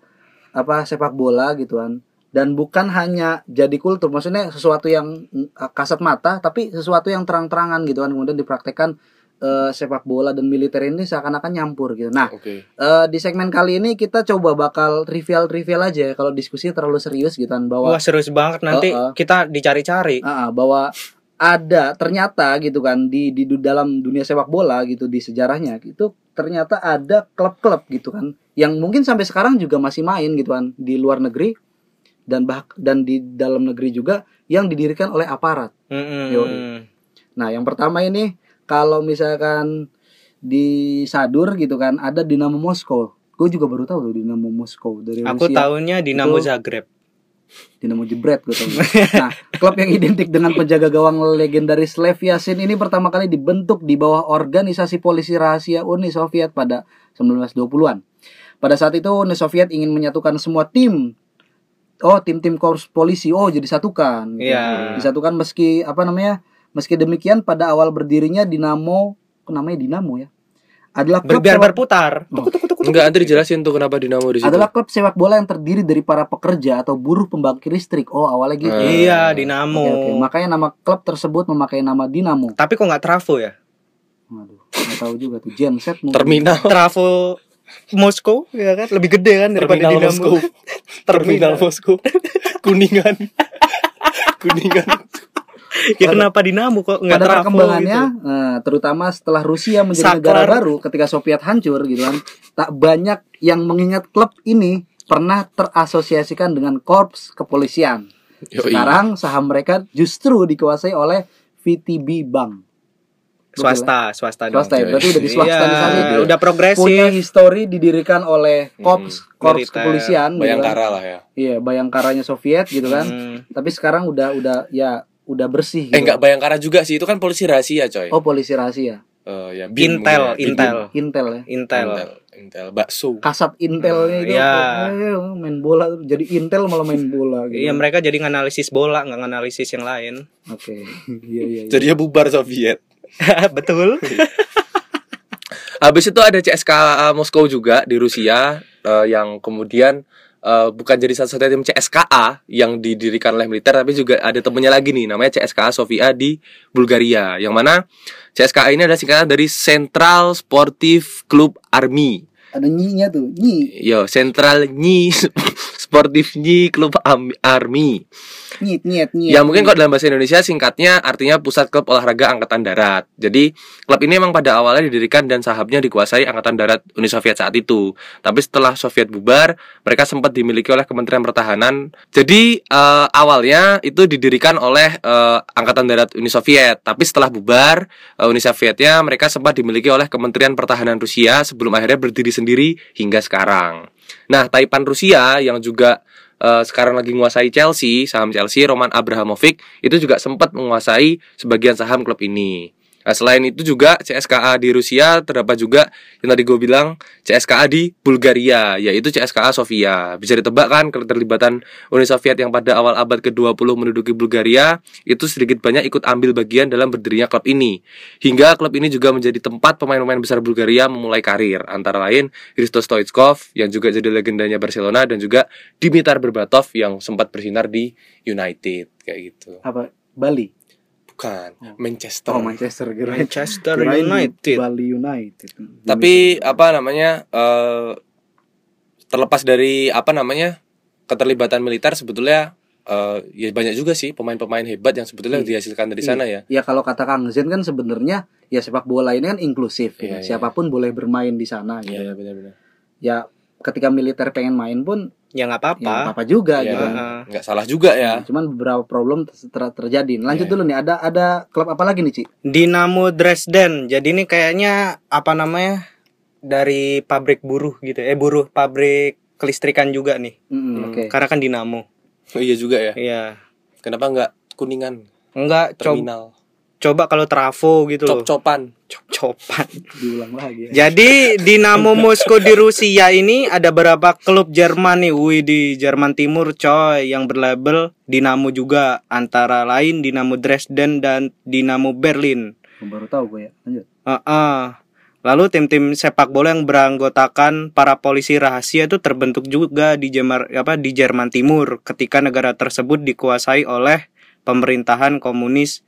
Speaker 2: apa sepak bola gituan dan bukan hanya jadi kultur maksudnya sesuatu yang mm, kasat mata tapi sesuatu yang terang-terangan gituan kemudian dipraktekkan eh, sepak bola dan militer ini seakan-akan nyampur gitu nah
Speaker 1: Oke.
Speaker 2: eh, di segmen kali ini kita coba bakal trivial-trivial aja ya, kalau diskusinya terlalu serius gituan bahwa
Speaker 3: Wah, serius banget nanti
Speaker 2: Oh, oh.
Speaker 3: kita dicari-cari.
Speaker 2: Ah, ah, bahwa ada ternyata gitu kan di, di du- dalam dunia sepak bola gitu di sejarahnya itu ternyata ada klub-klub gitu kan yang mungkin sampai sekarang juga masih main gitu kan di luar negeri dan bah dan di dalam negeri juga yang didirikan oleh aparat.
Speaker 3: Mm-mm.
Speaker 2: Yoi. Nah, yang pertama ini kalau misalkan di Sadur gitu kan ada Dinamo Moskow. Gue juga baru tahu tuh Dinamo Moskow dari
Speaker 3: Aku
Speaker 2: Rusia.
Speaker 3: tahunya Dinamo
Speaker 2: Itu-
Speaker 3: Zagreb.
Speaker 2: Dinamo Jebret gue tahu. Nah, klub yang identik dengan penjaga gawang legendaris Lev Yashin ini pertama kali dibentuk di bawah organisasi polisi rahasia Uni Soviet pada 1920-an. Pada saat itu Uni Soviet ingin menyatukan semua tim Oh, tim-tim korps polisi. Oh, jadi satukan. gitu.
Speaker 3: Iya.
Speaker 2: Disatukan meski apa namanya? Meski demikian pada awal berdirinya Dinamo, kok namanya Dinamo ya. Adalah
Speaker 3: Ber-
Speaker 2: klub
Speaker 3: Biar
Speaker 2: sepak-
Speaker 3: berputar. Tuku, tuku, tuku, tuku.
Speaker 1: Enggak, nanti dijelasin tuh kenapa Dinamo di situ.
Speaker 2: adalah klub sepak bola yang terdiri dari para pekerja atau buruh pembangkit listrik. Oh, awalnya gitu.
Speaker 1: Eh,
Speaker 3: Iya,
Speaker 2: Oke, oke.
Speaker 3: Dinamo.
Speaker 2: Makanya nama klub tersebut memakai nama Dinamo.
Speaker 3: Tapi kok nggak Trafo ya?
Speaker 2: Waduh, nggak tahu juga tuh. Genset mungkin.
Speaker 1: Terminal.
Speaker 3: Trafo Moskow ya kan lebih gede kan daripada Dinamo.
Speaker 1: Terminal Moskow. Terminal Moskow. Kuningan. Kuningan.
Speaker 3: ya kenapa Dinamo kok nggak
Speaker 2: Pada
Speaker 3: Trafo
Speaker 2: perkembangannya,
Speaker 3: gitu?
Speaker 2: eh, terutama setelah Rusia menjadi
Speaker 3: Saklar.
Speaker 2: negara baru ketika Soviet hancur gitu kan, tak banyak yang mengingat klub ini pernah terasosiasikan dengan korps kepolisian.
Speaker 1: Yoi.
Speaker 2: Sekarang saham mereka justru dikuasai oleh VTB Bank.
Speaker 3: swasta swasta dong.
Speaker 2: Swasta ya, berarti udah di swasta di sana.
Speaker 3: Iya,
Speaker 2: gitu.
Speaker 3: udah
Speaker 2: Punya
Speaker 3: progresif
Speaker 2: histori didirikan oleh
Speaker 3: Hmm,
Speaker 2: korps korps
Speaker 3: militer.
Speaker 2: kepolisian gitu kan.
Speaker 4: Bayangkara lah ya.
Speaker 2: Iya, bayangkaranya Soviet gitu kan.
Speaker 3: Hmm.
Speaker 2: tapi sekarang udah udah ya udah bersih gitu.
Speaker 4: Eh enggak Bayangkara juga sih, itu kan polisi rahasia, coy.
Speaker 2: oh polisi rahasia
Speaker 4: Eh, ya, BIN
Speaker 3: Intel
Speaker 4: mungkin ya, BIN.
Speaker 3: Intel
Speaker 2: intel ya
Speaker 3: Intel
Speaker 4: Intel, Intel bakso.
Speaker 2: kasat intelnya itu
Speaker 3: Iya.
Speaker 2: eh, main bola tuh. jadi intel malah main bola gitu
Speaker 3: Iya mereka jadi nganalisis bola nggak nganalisis yang lain
Speaker 2: oke iya iya iya.
Speaker 4: Jadinya bubar Soviet.
Speaker 3: betul
Speaker 1: Habis itu ada CSKA Moskow juga di Rusia eh, yang kemudian eh, bukan jadi satu-satunya tim CSKA yang didirikan oleh militer tapi juga ada temennya lagi nih namanya CSKA Sofia di Bulgaria yang mana CSKA ini adalah singkatan dari Central Sportive Club Army.
Speaker 2: ada nyinya tuh nyi
Speaker 1: Yo, Central Nyi Sportif Nyi Club Am- Army.
Speaker 2: nyit nyet nyet
Speaker 1: Ya mungkin kalau dalam bahasa Indonesia singkatnya artinya pusat klub olahraga angkatan darat. Jadi klub ini memang pada awalnya didirikan dan sahamnya dikuasai angkatan darat Uni Soviet saat itu. Tapi setelah Soviet bubar, mereka sempat dimiliki oleh Kementerian Pertahanan. Jadi eh, awalnya itu didirikan oleh eh, angkatan darat Uni Soviet. Tapi setelah bubar eh, Uni Sovietnya, mereka sempat dimiliki oleh Kementerian Pertahanan Rusia sebelum akhirnya berdiri sendiri hingga sekarang. Nah, Taipan Rusia yang juga eh, sekarang lagi menguasai Chelsea, saham Chelsea, Roman Abramovich itu juga sempat menguasai sebagian saham klub ini. Nah, selain itu juga CSKA di Rusia terdapat juga yang tadi gue bilang CSKA di Bulgaria yaitu CSKA Sofia. Bisa ditebak kan keterlibatan Uni Soviet yang pada awal abad ke-20 menduduki Bulgaria itu sedikit banyak ikut ambil bagian dalam berdirinya klub ini. Hingga klub ini juga menjadi tempat pemain-pemain besar Bulgaria memulai karir antara lain Hristo Stoichkov yang juga jadi legendanya Barcelona dan juga Dimitar Berbatov yang sempat bersinar di United kayak gitu.
Speaker 2: apa Bali
Speaker 1: Ya.
Speaker 4: Bukan,
Speaker 2: oh
Speaker 4: Manchester.
Speaker 2: Manchester kirain
Speaker 3: Manchester
Speaker 2: kirain
Speaker 3: United
Speaker 2: Bali United
Speaker 4: Tapi apa namanya? eh, terlepas dari apa namanya? keterlibatan militer sebetulnya eh, ya banyak juga sih pemain-pemain hebat yang
Speaker 1: Hmm.
Speaker 4: sebetulnya
Speaker 2: Iya.
Speaker 4: dihasilkan dari
Speaker 2: Iya.
Speaker 4: sana ya.
Speaker 2: ya kalau kata Kang Zen kan sebenarnya ya sepak bola ini kan inklusif gitu.
Speaker 4: Iya, iya.
Speaker 2: siapapun boleh bermain di sana gitu.
Speaker 4: Iya, benar-benar.
Speaker 2: ya ketika militer pengen main pun
Speaker 3: ya nggak
Speaker 2: ya
Speaker 3: apa-apa
Speaker 2: apa juga
Speaker 4: Iya.
Speaker 2: gitu kan.
Speaker 3: Heeh.
Speaker 4: Nggak salah juga ya.
Speaker 2: Nah, Cuman beberapa problem ter- ter- terjadi. Nah,
Speaker 3: Ya.
Speaker 2: Lanjut
Speaker 4: Iya,
Speaker 2: dulu nih, ada ada klub apa lagi nih, Ci?
Speaker 3: Dinamo Dresden jadi ini kayaknya apa namanya dari pabrik buruh gitu eh buruh pabrik kelistrikan juga nih
Speaker 2: Mm-mm,
Speaker 4: Hmm,
Speaker 2: Oke.
Speaker 3: karena kan Dinamo
Speaker 1: Hmm.
Speaker 4: Oh, iya juga ya.
Speaker 3: iya
Speaker 4: Kenapa nggak kuningan
Speaker 3: Enggak coba
Speaker 4: terminal?
Speaker 3: Coba kalau trafo gitu loh.
Speaker 1: cop-copan
Speaker 3: Cop-copan.
Speaker 2: diulang lagi ya.
Speaker 3: Jadi Dinamo Moskow di Rusia ini ada berapa klub Jerman nih? Wih di Jerman Timur coy yang berlabel Dinamo juga antara lain Dinamo Dresden dan Dinamo Berlin.
Speaker 2: baru tahu gue ya lanjut
Speaker 3: Heeh. Lalu tim-tim sepak bola yang beranggotakan para polisi rahasia itu terbentuk juga di Jerman apa di Jerman Timur ketika negara tersebut dikuasai oleh pemerintahan komunis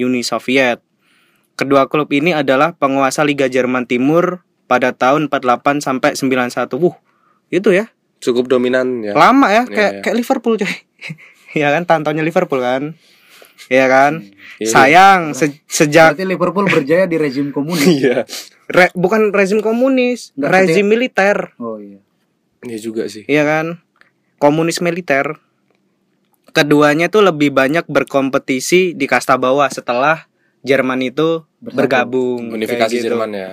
Speaker 3: Uni Soviet. Kedua klub ini adalah penguasa Liga Jerman Timur pada tahun 48 sampai 91. Wuh, itu ya.
Speaker 1: cukup dominan ya
Speaker 3: Lama ya,
Speaker 1: Iya,
Speaker 3: kayak
Speaker 1: iya.
Speaker 3: kayak Liverpool coy. ya kan tantaunya Liverpool kan. Iya kan?
Speaker 1: Iya.
Speaker 3: Sayang se- sejak
Speaker 2: berarti Liverpool berjaya di rezim komunis
Speaker 1: iya
Speaker 3: Re- bukan rezim komunis,
Speaker 2: Nggak
Speaker 3: rezim militer,
Speaker 2: oh iya
Speaker 1: iya juga sih
Speaker 3: iya kan? Komunis militer. Keduanya tuh lebih banyak berkompetisi di kasta bawah setelah Jerman itu
Speaker 2: Bersatu.
Speaker 3: bergabung.
Speaker 1: unifikasi
Speaker 3: kayak gitu.
Speaker 1: Jerman ya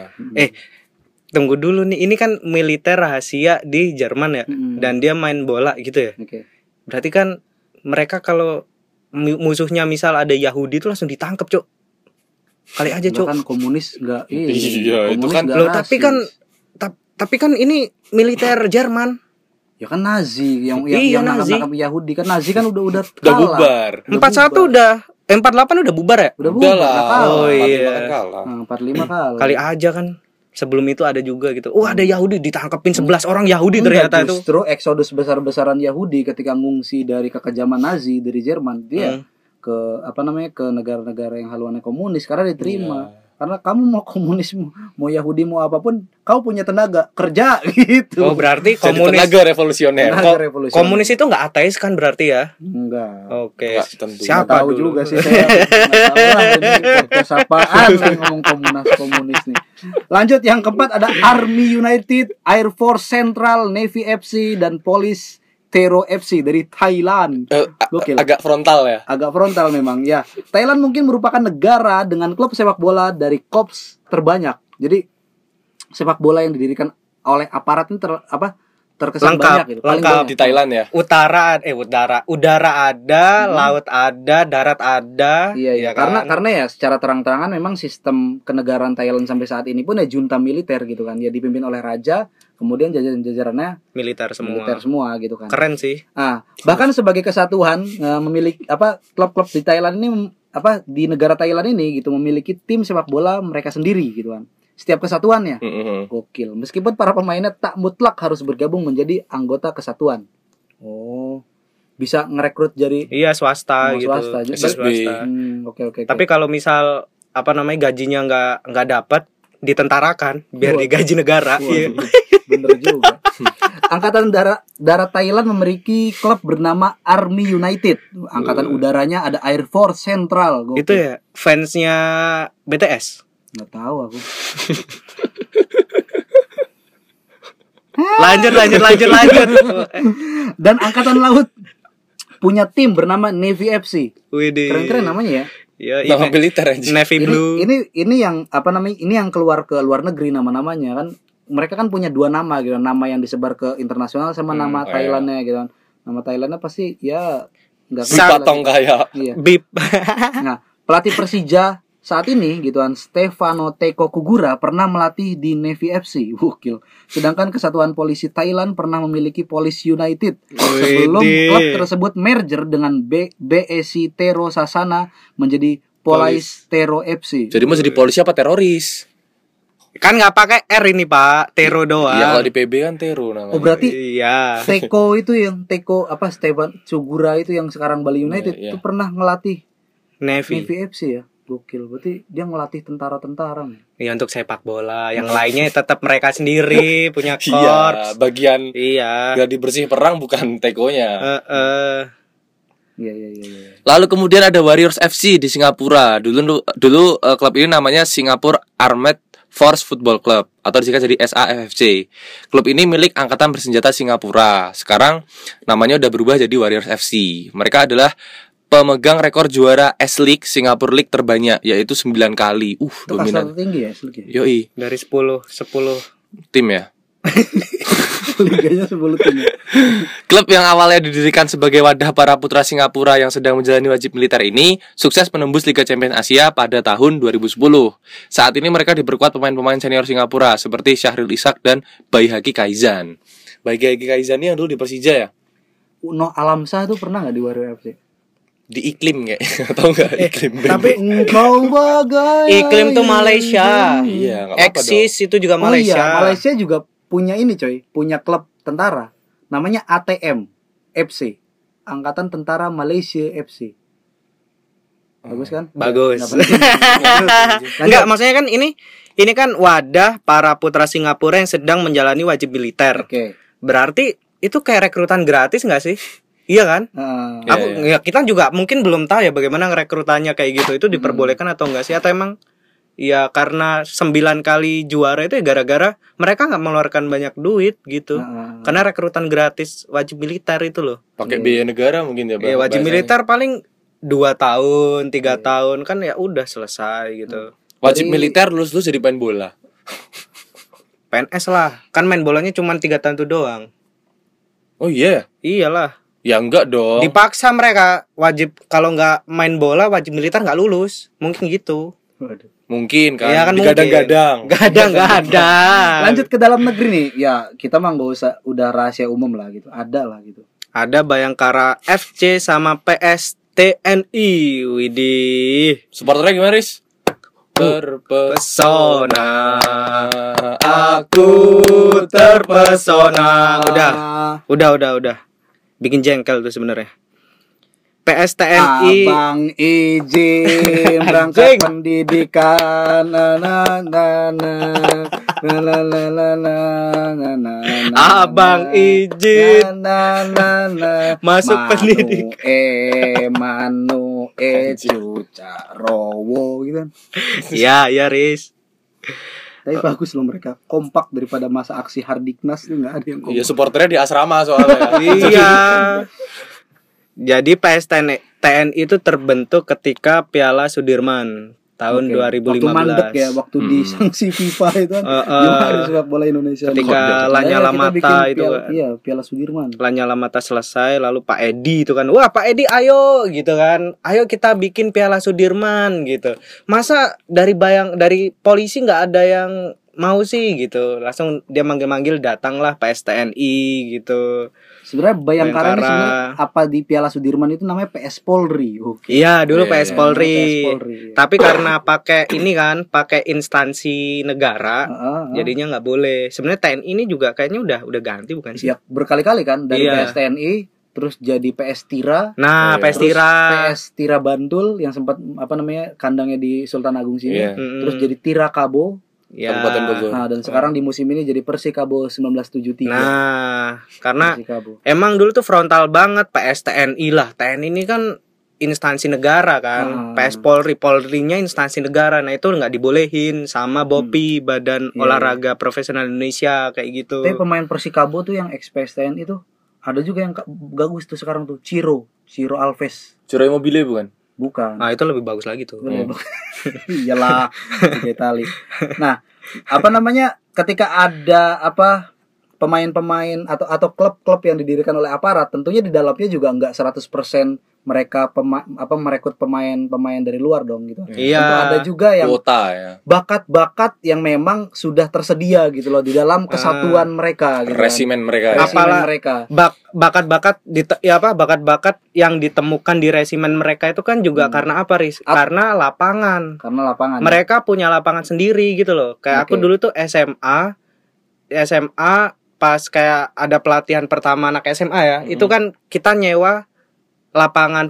Speaker 3: Tunggu dulu nih, ini kan militer rahasia di Jerman
Speaker 2: Hmm.
Speaker 3: ya, dan dia main bola gitu ya.
Speaker 2: oke
Speaker 3: Berarti kan mereka kalau mu- musuhnya misal ada Yahudi tuh langsung ditangkep, Cuk. Kali aja,
Speaker 2: Lo
Speaker 3: Iya, Cuk.
Speaker 2: kan komunis nggak ini.
Speaker 1: Iya, itu
Speaker 2: Komunis
Speaker 1: kan-
Speaker 2: nggak
Speaker 3: Loh, tapi
Speaker 2: rasis.
Speaker 3: kan- Ta- tapi kan ini militer Jerman.
Speaker 2: ya kan Nazi yang yang,
Speaker 3: Iya,
Speaker 2: yang nangkap
Speaker 3: Nazi.
Speaker 2: nangkap Yahudi kan Nazi kan udah udah
Speaker 1: udah
Speaker 2: kalah.
Speaker 1: bubar
Speaker 2: Udah
Speaker 3: empat satu
Speaker 2: bubar.
Speaker 3: udah eh, empat delapan udah bubar ya
Speaker 2: udah bubar
Speaker 1: udah lah
Speaker 2: udah kalah.
Speaker 3: Oh, iya.
Speaker 1: Kan kalah
Speaker 2: Nah, 45 kalah.
Speaker 3: kali aja kan sebelum itu ada juga gitu wah ada Yahudi ditangkepin 11 orang Yahudi
Speaker 2: Enggak,
Speaker 3: ternyata itu
Speaker 2: justru eksodus besar-besaran Yahudi ketika ngungsi dari kekejaman Nazi dari Jerman Iya, dia
Speaker 3: Hmm.
Speaker 2: ke apa namanya ke negara-negara yang haluannya komunis karena
Speaker 3: Iya.
Speaker 2: diterima. Karena kamu mau komunis mau- mau Yahudi mau apapun, kau punya tenaga kerja gitu.
Speaker 3: oh berarti
Speaker 1: jadi
Speaker 3: komunis
Speaker 1: tenaga revolusioner
Speaker 2: Tenaga
Speaker 3: ko-
Speaker 2: revolusioner.
Speaker 3: komunis itu nggak ateis kan berarti ya
Speaker 2: enggak.
Speaker 3: oke
Speaker 1: Nggak, tentu.
Speaker 2: Nggak
Speaker 3: siapa
Speaker 2: tahu
Speaker 3: dulu
Speaker 2: juga sih saya. Nggak tahu lah ini podcast apaan yang ngomong komunis komunis nih. Lanjut yang keempat ada Army United, Air Force Central, Navy FC dan Police Tero FC dari Thailand.
Speaker 1: Eh, a-
Speaker 2: Gokil.
Speaker 1: agak frontal ya
Speaker 2: Agak frontal memang ya. Thailand mungkin merupakan negara dengan klub sepak bola dari kops terbanyak. Jadi sepak bola yang didirikan oleh aparat ini ter, apa terkesan
Speaker 3: Lengkap,
Speaker 2: banyak gitu. Paling
Speaker 3: lengkap.
Speaker 2: banyak.
Speaker 1: di Thailand ya
Speaker 3: utara eh udara udara ada laut ada darat ada
Speaker 2: Hmm. Iya, iya.
Speaker 3: ya
Speaker 2: karena
Speaker 3: kan?
Speaker 2: karena ya secara terang-terangan memang sistem kenegaraan Thailand sampai saat ini pun ya junta militer gitu kan. Ya dipimpin oleh raja, kemudian jajaran-jajarannya
Speaker 3: militer semua
Speaker 2: militer semua gitu kan.
Speaker 3: keren sih
Speaker 2: Nah, bahkan sebagai kesatuan eh, memiliki apa klub-klub di Thailand ini mem- apa di negara Thailand ini gitu memiliki tim sepak bola mereka sendiri gitu kan. Setiap kesatuannya
Speaker 1: Mm-mm.
Speaker 2: gokil. Meskipun para pemainnya tak mutlak harus bergabung menjadi anggota kesatuan. Oh, bisa ngerekrut dari
Speaker 3: iya swasta
Speaker 2: Semua
Speaker 3: gitu
Speaker 2: swasta. Jadi-
Speaker 3: Bisa
Speaker 1: SSB.
Speaker 2: Hmm, oke oke. oke.
Speaker 3: Iya. Tapi kalau misal apa namanya gajinya nggak nggak dapat ditentarakan biar
Speaker 2: Waduh.
Speaker 3: digaji negara. Iya.
Speaker 2: Waduh, Bener juga. Angkatan darat darat Thailand memiliki klub bernama Army United. Angkatan udaranya ada Air Force Central. Gua
Speaker 3: Iya. Itu ya fansnya BTS.
Speaker 2: nggak tahu aku.
Speaker 3: Lanjut lanjut lanjut lanjut.
Speaker 2: Dan angkatan laut punya tim bernama Navy FC.
Speaker 3: Widih.
Speaker 1: Iya.
Speaker 2: Keren-keren namanya ya.
Speaker 3: Ya,
Speaker 1: Nama
Speaker 3: ini,
Speaker 1: militer aja
Speaker 3: Navy
Speaker 2: Ini,
Speaker 3: Blue.
Speaker 2: ini ini yang apa namanya? Ini yang keluar ke luar negeri nama-namanya kan. Mereka kan punya dua nama gitu, nama yang disebar ke internasional sama
Speaker 1: Hmm, oh
Speaker 2: nama
Speaker 1: iya.
Speaker 2: Thailandnya gitu kan. Nama Thailandnya pasti ya nggak
Speaker 1: Di patong kayak
Speaker 2: Iya.
Speaker 3: Bip.
Speaker 2: Nah, pelatih Persija saat ini gituan Stefano Teko Kugura pernah melatih di Navy FC wukil sedangkan kesatuan polisi Thailand pernah memiliki Police United sebelum
Speaker 3: Widih.
Speaker 2: klub tersebut merger dengan B BSC Tero Sasana menjadi Police Tero FC
Speaker 1: jadi mau jadi polisi apa teroris
Speaker 3: Kan nggak pakai R ini Pak, Tero doang.
Speaker 1: Iya kalau di PB kan teru namanya
Speaker 2: oh berarti
Speaker 3: Iya.
Speaker 2: Teko itu yang Teko apa Stefan Kugura itu yang sekarang Bali
Speaker 1: Iya,
Speaker 2: United
Speaker 1: iya.
Speaker 2: itu pernah ngelatih
Speaker 3: Navy.
Speaker 2: Navy FC ya gokil berarti dia ngelatih tentara-tentara nih
Speaker 3: Ya untuk sepak bola, yang lainnya tetap mereka sendiri punya
Speaker 1: Iya,
Speaker 3: korps.
Speaker 1: bagian
Speaker 3: Iya.
Speaker 1: gladi bersih perang bukan tekonya.
Speaker 3: Eh, eh.
Speaker 2: iya iya iya iya.
Speaker 1: Lalu kemudian ada Warriors FC di Singapura. Dulu dulu eh, klub ini namanya Singapore Armed Force Football Club atau disingkat jadi SAFFC. Klub ini milik angkatan bersenjata Singapura. Sekarang namanya udah berubah jadi Warriors FC. Mereka adalah pemegang rekor juara S-League Singapore League terbanyak yaitu 9 kali. Uh,
Speaker 2: itu kasar
Speaker 1: dominan.
Speaker 2: tinggi ya Slik ya?
Speaker 1: Yoi,
Speaker 3: dari 10 10
Speaker 1: tim ya.
Speaker 2: liganya 10 tim. ya.
Speaker 1: Klub yang awalnya didirikan sebagai wadah para putra Singapura yang sedang menjalani wajib militer ini sukses menembus Liga Champions Asia pada tahun 2010. Saat ini mereka diperkuat pemain-pemain senior Singapura seperti Syahril Ishak dan Baihaki Kaizan. Baihaki Kaizan ini yang dulu di Persija ya?
Speaker 2: Uno Alamsa tuh pernah nggak di Warrior FC?
Speaker 1: Di iklim kayak atau enggak iklim?
Speaker 3: Eh, Tapi
Speaker 2: Engkau bagai
Speaker 3: iklim tuh Malaysia.
Speaker 1: Iya, nggak apa-apa dong.
Speaker 3: Eksis itu juga
Speaker 2: Malaysia.
Speaker 3: Malaysia.
Speaker 2: iya, Malaysia juga punya ini coy, punya klub tentara. Namanya ATM FC. Angkatan Tentara Malaysia FC. Bagus kan?
Speaker 3: Bagus.
Speaker 2: Nggak penting. Lanjut.
Speaker 3: Enggak, maksudnya kan ini ini kan wadah para putra Singapura yang sedang menjalani wajib militer.
Speaker 2: Oke.
Speaker 3: Berarti itu kayak rekrutan gratis nggak sih? Iya kan?
Speaker 2: Heeh.
Speaker 1: Iya, Hmm.
Speaker 3: Aku ya, kita juga mungkin belum tahu ya bagaimana ngerekrutannya kayak gitu. Itu diperbolehkan atau enggak sih atau emang ya karena 9 kali juara itu ya gara-gara mereka nggak mengeluarkan banyak duit gitu.
Speaker 1: Hmm.
Speaker 2: Heeh.
Speaker 3: Karena rekrutan gratis wajib militer itu loh.
Speaker 1: Pakai biaya negara mungkin ya.
Speaker 3: Ya wajib
Speaker 1: bahasanya. Iya,
Speaker 3: militer paling dua tahun, tiga tahun kan ya udah selesai gitu.
Speaker 1: Wajib
Speaker 2: Jadi-
Speaker 1: militer lulus lulus jadi pemain bola. Hmm.
Speaker 3: PNS lah. Kan main bolanya cuma tiga tahun tuh doang.
Speaker 1: Oh iya.
Speaker 3: Iyalah.
Speaker 1: Ya enggak dong.
Speaker 3: Dipaksa mereka wajib kalau nggak main bola wajib militer nggak lulus. Mungkin gitu.
Speaker 2: Waduh.
Speaker 1: Mungkin kan.
Speaker 3: Iya kan mungkin.
Speaker 1: Digadang-gadang.
Speaker 3: Gak ada, gak ada.
Speaker 2: Lanjut ke dalam negeri nih. Ya, kita mah nggak usah udah rahasia umum lah gitu. Ada lah gitu.
Speaker 3: Ada Bayangkara FC sama PS TNI. Widih.
Speaker 1: Supporternya gimana, Riz? Terpesona.
Speaker 3: Eh, Aku terpesona. Udah,
Speaker 2: Ah,
Speaker 3: udah, udah, udah. Bikin jengkel tuh sebenarnya. PS TNI.
Speaker 2: Abang izin berangkat pendidikan na na na na na na na na na na na na
Speaker 3: Abang
Speaker 2: na,
Speaker 3: izin.
Speaker 2: na na na na.
Speaker 3: Masuk
Speaker 2: Manu
Speaker 3: pendidikan.
Speaker 2: e manu e cuca rowo gitu kan
Speaker 3: Ya, ya Riz.
Speaker 2: tapi
Speaker 3: Oh.
Speaker 2: bagus loh mereka kompak daripada masa aksi Hardiknas tuh nggak ada yang
Speaker 1: Iya,
Speaker 2: kompak
Speaker 1: supporternya di asrama soalnya.
Speaker 3: iya. Jadi PS TNI, TNI itu terbentuk ketika Piala Sudirman tahun
Speaker 2: Oke.
Speaker 3: 2015.
Speaker 2: waktu mandek ya waktu di
Speaker 1: Hmm.
Speaker 2: sanksi FIFA itu kan
Speaker 3: Eh, eh.
Speaker 2: juara sepak bola Indonesia
Speaker 3: Ketika
Speaker 2: Makanya
Speaker 3: Lanyala
Speaker 2: kita
Speaker 3: Mata
Speaker 2: bikin
Speaker 3: itu
Speaker 2: piala,
Speaker 3: kan.
Speaker 2: iya Piala Sudirman
Speaker 3: Lanyala Mata selesai lalu Pak Edi itu kan wah Pak Edi ayo gitu kan ayo kita bikin Piala Sudirman gitu masa dari bayang dari polisi nggak ada yang mau sih gitu langsung dia manggil-manggil datanglah PSTNI gitu
Speaker 2: sebenarnya Bayangkara, ini
Speaker 3: Bayangkara.
Speaker 2: sebenarnya apa di Piala Sudirman itu namanya PS Polri oke
Speaker 3: iya dulu
Speaker 1: Iya,
Speaker 3: PS
Speaker 1: iya,
Speaker 3: Polri
Speaker 2: PS Polri
Speaker 3: tapi karena pakai ini kan pakai instansi negara
Speaker 2: Heeh, heeh.
Speaker 3: jadinya nggak boleh sebenarnya TNI ini juga kayaknya udah udah ganti bukan sih
Speaker 2: ya berkali-kali kan dari
Speaker 3: Iya.
Speaker 2: PS TNI terus jadi PS Tira
Speaker 3: nah
Speaker 1: Oh, iya.
Speaker 3: PS
Speaker 2: terus
Speaker 3: Tira
Speaker 2: PS Tira Bantul yang sempat apa namanya kandangnya di Sultan Agung sini
Speaker 1: Iya.
Speaker 3: Mm-mm.
Speaker 2: terus jadi Tira Kabo
Speaker 3: Ya.
Speaker 1: Kabupaten Bogor.
Speaker 2: Nah, dan sekarang di musim ini jadi Persikabo 1973.
Speaker 3: nah karena
Speaker 2: Persikabo.
Speaker 3: emang dulu tuh frontal banget PS TNI lah TNI ini kan instansi negara
Speaker 2: Hmm.
Speaker 3: kan PS Polri Polrinya instansi negara nah itu nggak dibolehin sama BOPI Badan
Speaker 2: Iya.
Speaker 3: Olahraga Profesional Indonesia kayak gitu
Speaker 2: Tapi pemain Persikabo tuh yang ex-PSTN itu ada juga yang ka- bagus tuh sekarang tuh Ciro, Ciro Alves.
Speaker 1: Curai mobile bukan?
Speaker 2: Bukan.
Speaker 3: nah itu lebih bagus lagi tuh
Speaker 2: Iya.
Speaker 1: Hmm.
Speaker 2: Iyalah, Liga Itali. Nah, apa namanya? Ketika ada apa pemain-pemain atau atau klub-klub yang didirikan oleh aparat, tentunya di dalamnya juga nggak 100% mereka pema- apa merekrut pemain-pemain dari luar dong gitu.
Speaker 3: Iya.
Speaker 2: Tentu ada juga yang
Speaker 1: Kuota ya.
Speaker 2: bakat-bakat yang memang sudah tersedia gitu loh di dalam
Speaker 3: Ah.
Speaker 2: kesatuan mereka
Speaker 3: Iya.
Speaker 2: gitu kan.
Speaker 1: Resimen mereka. ya.
Speaker 2: Resimen
Speaker 3: Apalah-
Speaker 2: mereka
Speaker 3: Bak- bakat-bakat di ya apa bakat-bakat yang ditemukan di resimen mereka itu kan juga
Speaker 2: Hmm.
Speaker 3: karena apa Riz?
Speaker 2: Ap-
Speaker 3: Karena lapangan.
Speaker 2: karena lapangan
Speaker 3: Mereka punya lapangan sendiri gitu loh. Kayak aku
Speaker 2: Oke.
Speaker 3: dulu tuh SMA di SMA pas kayak ada pelatihan pertama anak SMA ya,
Speaker 2: Hmm.
Speaker 1: Mm-mm.
Speaker 3: itu kan kita nyewa lapangan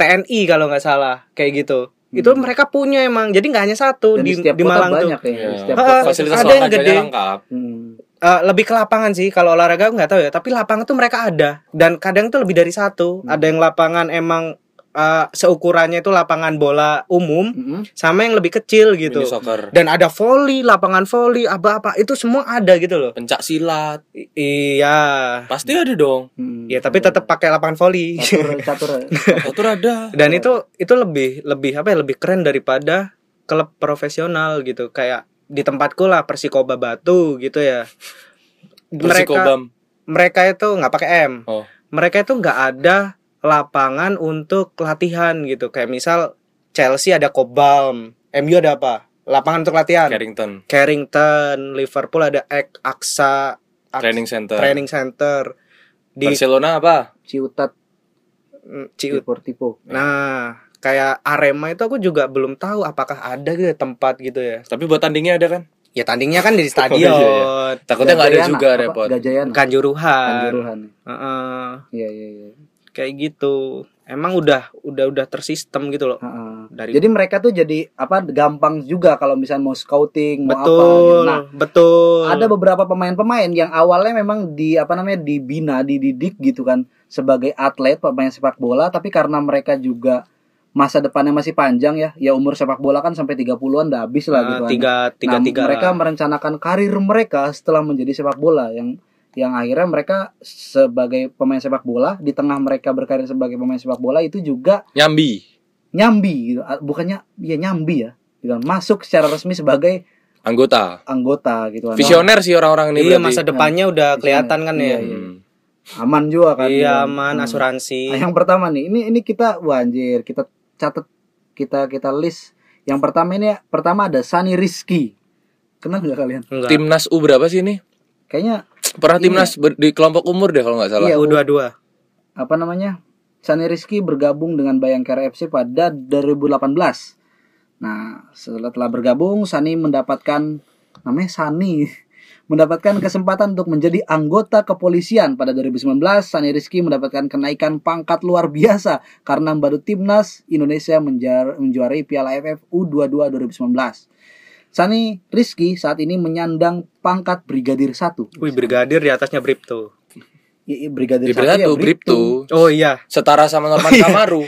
Speaker 3: TNI kalau nggak salah kayak gitu. Itu
Speaker 2: Hmm.
Speaker 3: mereka punya emang. Jadi nggak hanya satu
Speaker 2: Dan
Speaker 3: di,
Speaker 2: di setiap
Speaker 3: di
Speaker 2: kota
Speaker 3: Malang tuh.
Speaker 2: banyak ya di
Speaker 1: Iya.
Speaker 2: setiap
Speaker 3: Ah,
Speaker 2: kota.
Speaker 1: Fasilitas
Speaker 3: ada yang
Speaker 1: olahraganya
Speaker 3: gede.
Speaker 1: lengkap.
Speaker 2: Hmm.
Speaker 3: Eh, lebih ke lapangan sih kalau olahraga aku nggak tahu ya tapi lapangan tuh mereka ada dan kadang tuh lebih dari satu
Speaker 2: Hmm.
Speaker 3: ada yang lapangan emang eh, seukurannya itu lapangan bola umum
Speaker 2: Mm-mm.
Speaker 3: sama yang lebih kecil
Speaker 1: Mini
Speaker 3: gitu
Speaker 1: soccer.
Speaker 3: dan ada volley lapangan volley apa apa itu semua ada gitu loh
Speaker 1: Pencak silat.
Speaker 3: I- iya
Speaker 1: Pasti ada dong.
Speaker 2: Hmm.
Speaker 3: ya tapi Iya. tetap pakai lapangan volley
Speaker 2: catur catur
Speaker 1: Satu ada.
Speaker 3: dan itu itu lebih lebih apa ya lebih keren daripada klub profesional gitu kayak di tempatku lah Persikoba Batu gitu ya mereka
Speaker 1: Persikobam.
Speaker 3: mereka itu nggak pakai M.
Speaker 1: Oh.
Speaker 3: Mereka itu nggak ada lapangan untuk latihan gitu. Kayak misal Chelsea ada Cobham, MU ada apa? Lapangan untuk latihan.
Speaker 1: Carrington
Speaker 3: Carrington, Liverpool ada Ek- Aksa Aks-
Speaker 1: Training Center
Speaker 3: Training Center di mm,
Speaker 1: Barcelona apa
Speaker 2: Ciutat
Speaker 1: Iya.
Speaker 3: Ciut.
Speaker 2: Deportivo.
Speaker 3: Nah, kayak Arema itu aku juga belum tahu apakah ada gitu ya tempat gitu ya.
Speaker 1: tapi buat tandingnya ada kan
Speaker 3: Ya tandingnya kan di
Speaker 1: iya,
Speaker 3: stadion,
Speaker 1: takutnya nggak ada
Speaker 2: Gajayana,
Speaker 1: juga
Speaker 2: apa?
Speaker 1: repot
Speaker 2: Gajayana.
Speaker 3: Kan. Kanjuruhan.
Speaker 2: Kanjuruhan.
Speaker 3: Heeh,
Speaker 2: Iya iya iya.
Speaker 3: kayak gitu. Emang udah udah udah tersistem gitu loh
Speaker 2: Heeh.
Speaker 3: dari
Speaker 2: Jadi mereka tuh jadi apa gampang juga kalau misalnya mau scouting mau apa. gitu.
Speaker 3: betul,
Speaker 2: Nah,
Speaker 3: betul.
Speaker 2: ada beberapa pemain-pemain yang awalnya memang di apa namanya dibina, dididik gitu kan sebagai atlet pemain sepak bola tapi karena mereka juga masa depannya masih panjang ya. Ya umur sepak bola kan sampai 30-an udah habis lah gitu
Speaker 3: Nah,
Speaker 2: kan.
Speaker 3: tiga tiga
Speaker 2: Nah,
Speaker 3: tiga
Speaker 2: mereka
Speaker 3: lah.
Speaker 2: merencanakan karir mereka setelah menjadi sepak bola yang yang akhirnya mereka sebagai pemain sepak bola di tengah mereka berkarir sebagai pemain sepak bola itu juga
Speaker 1: nyambi
Speaker 2: nyambi gitu. Ah, bukannya ya nyambi ya gitu kan. masuk secara resmi sebagai
Speaker 1: anggota
Speaker 2: anggota gitu kan.
Speaker 1: visioner sih orang-orang ini
Speaker 3: Iya
Speaker 1: berarti.
Speaker 3: masa depannya udah kelihatan kan ya.
Speaker 2: Iya, iya.
Speaker 1: Hmm.
Speaker 2: aman juga kan
Speaker 3: Iya
Speaker 2: gitu kan.
Speaker 3: man
Speaker 2: Hmm. Nah,
Speaker 3: asuransi.
Speaker 2: yang pertama nih ini ini kita wah anjir kita catat kita kita list yang pertama ini pertama ada Sani Rizky kenal nggak kalian
Speaker 3: Enggak.
Speaker 1: timnas u berapa sih ini
Speaker 2: kayaknya
Speaker 1: pernah
Speaker 2: Iya.
Speaker 1: timnas ber- di kelompok umur deh kalau nggak salah
Speaker 2: Iya,
Speaker 3: U dua dua.
Speaker 2: apa namanya Sani Rizky bergabung dengan Bayangkara FC pada 2018. Nah setelah telah bergabung Sani mendapatkan namanya Sani mendapatkan kesempatan untuk menjadi anggota kepolisian pada 2019. Sani Rizky mendapatkan kenaikan pangkat luar biasa karena baru timnas Indonesia menjar- menjuarai Piala AFF U22 2019. Sani Rizky saat ini menyandang pangkat Brigadir 1.
Speaker 3: Wih brigadir di atasnya Bripto.
Speaker 2: I- i- Brigadir
Speaker 1: di
Speaker 2: 1 ya
Speaker 1: Bripto Bripto
Speaker 3: Oh iya.
Speaker 1: setara sama Norman Kamaru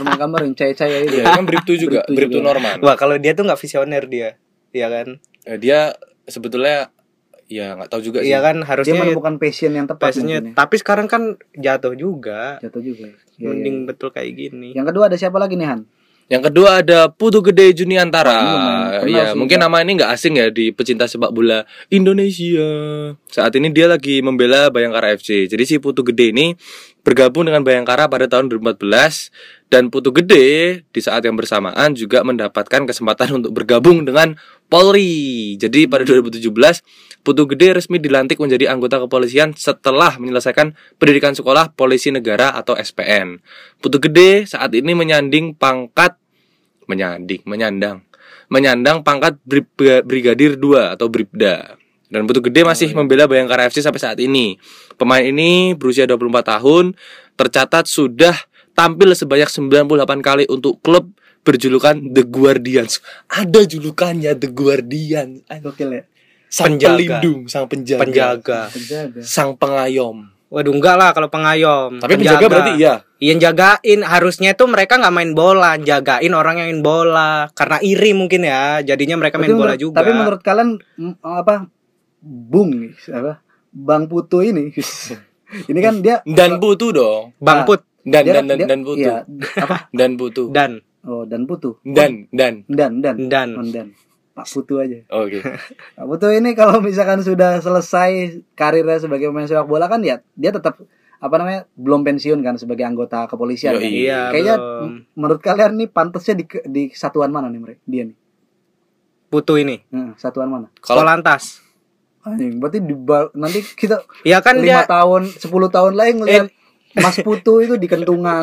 Speaker 2: Norman Kamar yang cahaya-cahaya itu.
Speaker 1: Iya, kan Bripto juga
Speaker 2: Bripto
Speaker 1: Bripto
Speaker 2: juga.
Speaker 1: Norman
Speaker 3: Wah kalau dia tuh nggak visioner dia. Iya kan.
Speaker 1: Eh, dia sebetulnya ya nggak tahu juga sih
Speaker 3: Iya kan
Speaker 2: dia
Speaker 3: harusnya
Speaker 2: menemukan passion yang tepat
Speaker 3: passionnya.
Speaker 2: mungkin ya.
Speaker 3: Tapi sekarang kan jatuh juga.
Speaker 2: jatuh juga ya. Iya,
Speaker 3: Mending
Speaker 2: iya.
Speaker 3: betul kayak gini.
Speaker 2: yang kedua ada siapa lagi nih Han
Speaker 1: Yang kedua ada Putu Gede Juniantara.
Speaker 2: Iya, main. Kenal
Speaker 1: ya,
Speaker 2: sih,
Speaker 1: mungkin
Speaker 2: Mbak.
Speaker 1: nama ini nggak asing ya di pecinta sepak bola Indonesia. Saat ini dia lagi membela Bayangkara FC. Jadi si Putu Gede ini bergabung dengan Bayangkara pada tahun 2014 dan Putu Gede di saat yang bersamaan juga mendapatkan kesempatan untuk bergabung dengan Polri. Jadi pada 2017 Putu Gede resmi dilantik menjadi anggota kepolisian setelah menyelesaikan pendidikan sekolah polisi negara atau SPN. Putu Gede saat ini menyanding pangkat menyanding, menyandang, menyandang pangkat Brib- brigadir 2 atau bribda. Dan Putu Gede masih membela Bayangkara FC sampai saat ini. Pemain ini berusia 24 tahun, tercatat sudah tampil sebanyak 98 kali untuk klub berjulukan The Guardians. Ada julukannya The Guardian.
Speaker 2: gokil ya
Speaker 1: Sang
Speaker 3: Penjaga.
Speaker 1: pelindung, sang
Speaker 2: iya.
Speaker 1: penjaga.
Speaker 3: Penjaga.
Speaker 2: penjaga
Speaker 1: Sang pengayom.
Speaker 3: Waduh enggak lah kalau pengayom.
Speaker 1: Tapi penjaga, berarti iya.
Speaker 3: Yang jagain harusnya tuh mereka nggak main bola, jagain orang yang main bola karena iri mungkin ya. Jadinya mereka
Speaker 2: tapi
Speaker 3: main bola
Speaker 2: menurut,
Speaker 3: juga.
Speaker 2: tapi menurut kalian mm, apa bung apa bang putu ini ini kan dia
Speaker 1: Dan Putu dong.
Speaker 3: Bang Put
Speaker 1: Dan
Speaker 2: dia,
Speaker 1: dan dan,
Speaker 2: dia-
Speaker 1: dan Putu.
Speaker 2: iya, apa
Speaker 1: Dan Putu.
Speaker 3: dan
Speaker 2: oh dan putu
Speaker 1: Dan dan.
Speaker 2: dan dan
Speaker 3: dan
Speaker 2: Oh, dan pak putu aja
Speaker 1: Oke.
Speaker 2: pak putu ini kalau misalkan sudah selesai karirnya sebagai pemain sepak bola kan ya dia tetap apa namanya belum pensiun kan sebagai anggota kepolisian
Speaker 1: Yoi.
Speaker 2: kan?
Speaker 3: Iya,
Speaker 2: Kayaknya
Speaker 3: belum.
Speaker 2: m- menurut kalian nih pantasnya di, ke- di satuan mana nih mereka? Dia nih.
Speaker 3: Putu ini.
Speaker 2: Heeh, satuan mana?
Speaker 1: Kalau
Speaker 3: Kolantas.
Speaker 2: Anjing, berarti di ba- nanti kita
Speaker 3: Iya kan dia
Speaker 2: lima
Speaker 3: Eh.
Speaker 2: tahun, 10 tahun lagi ngeliat Mas Putu itu di kentungan.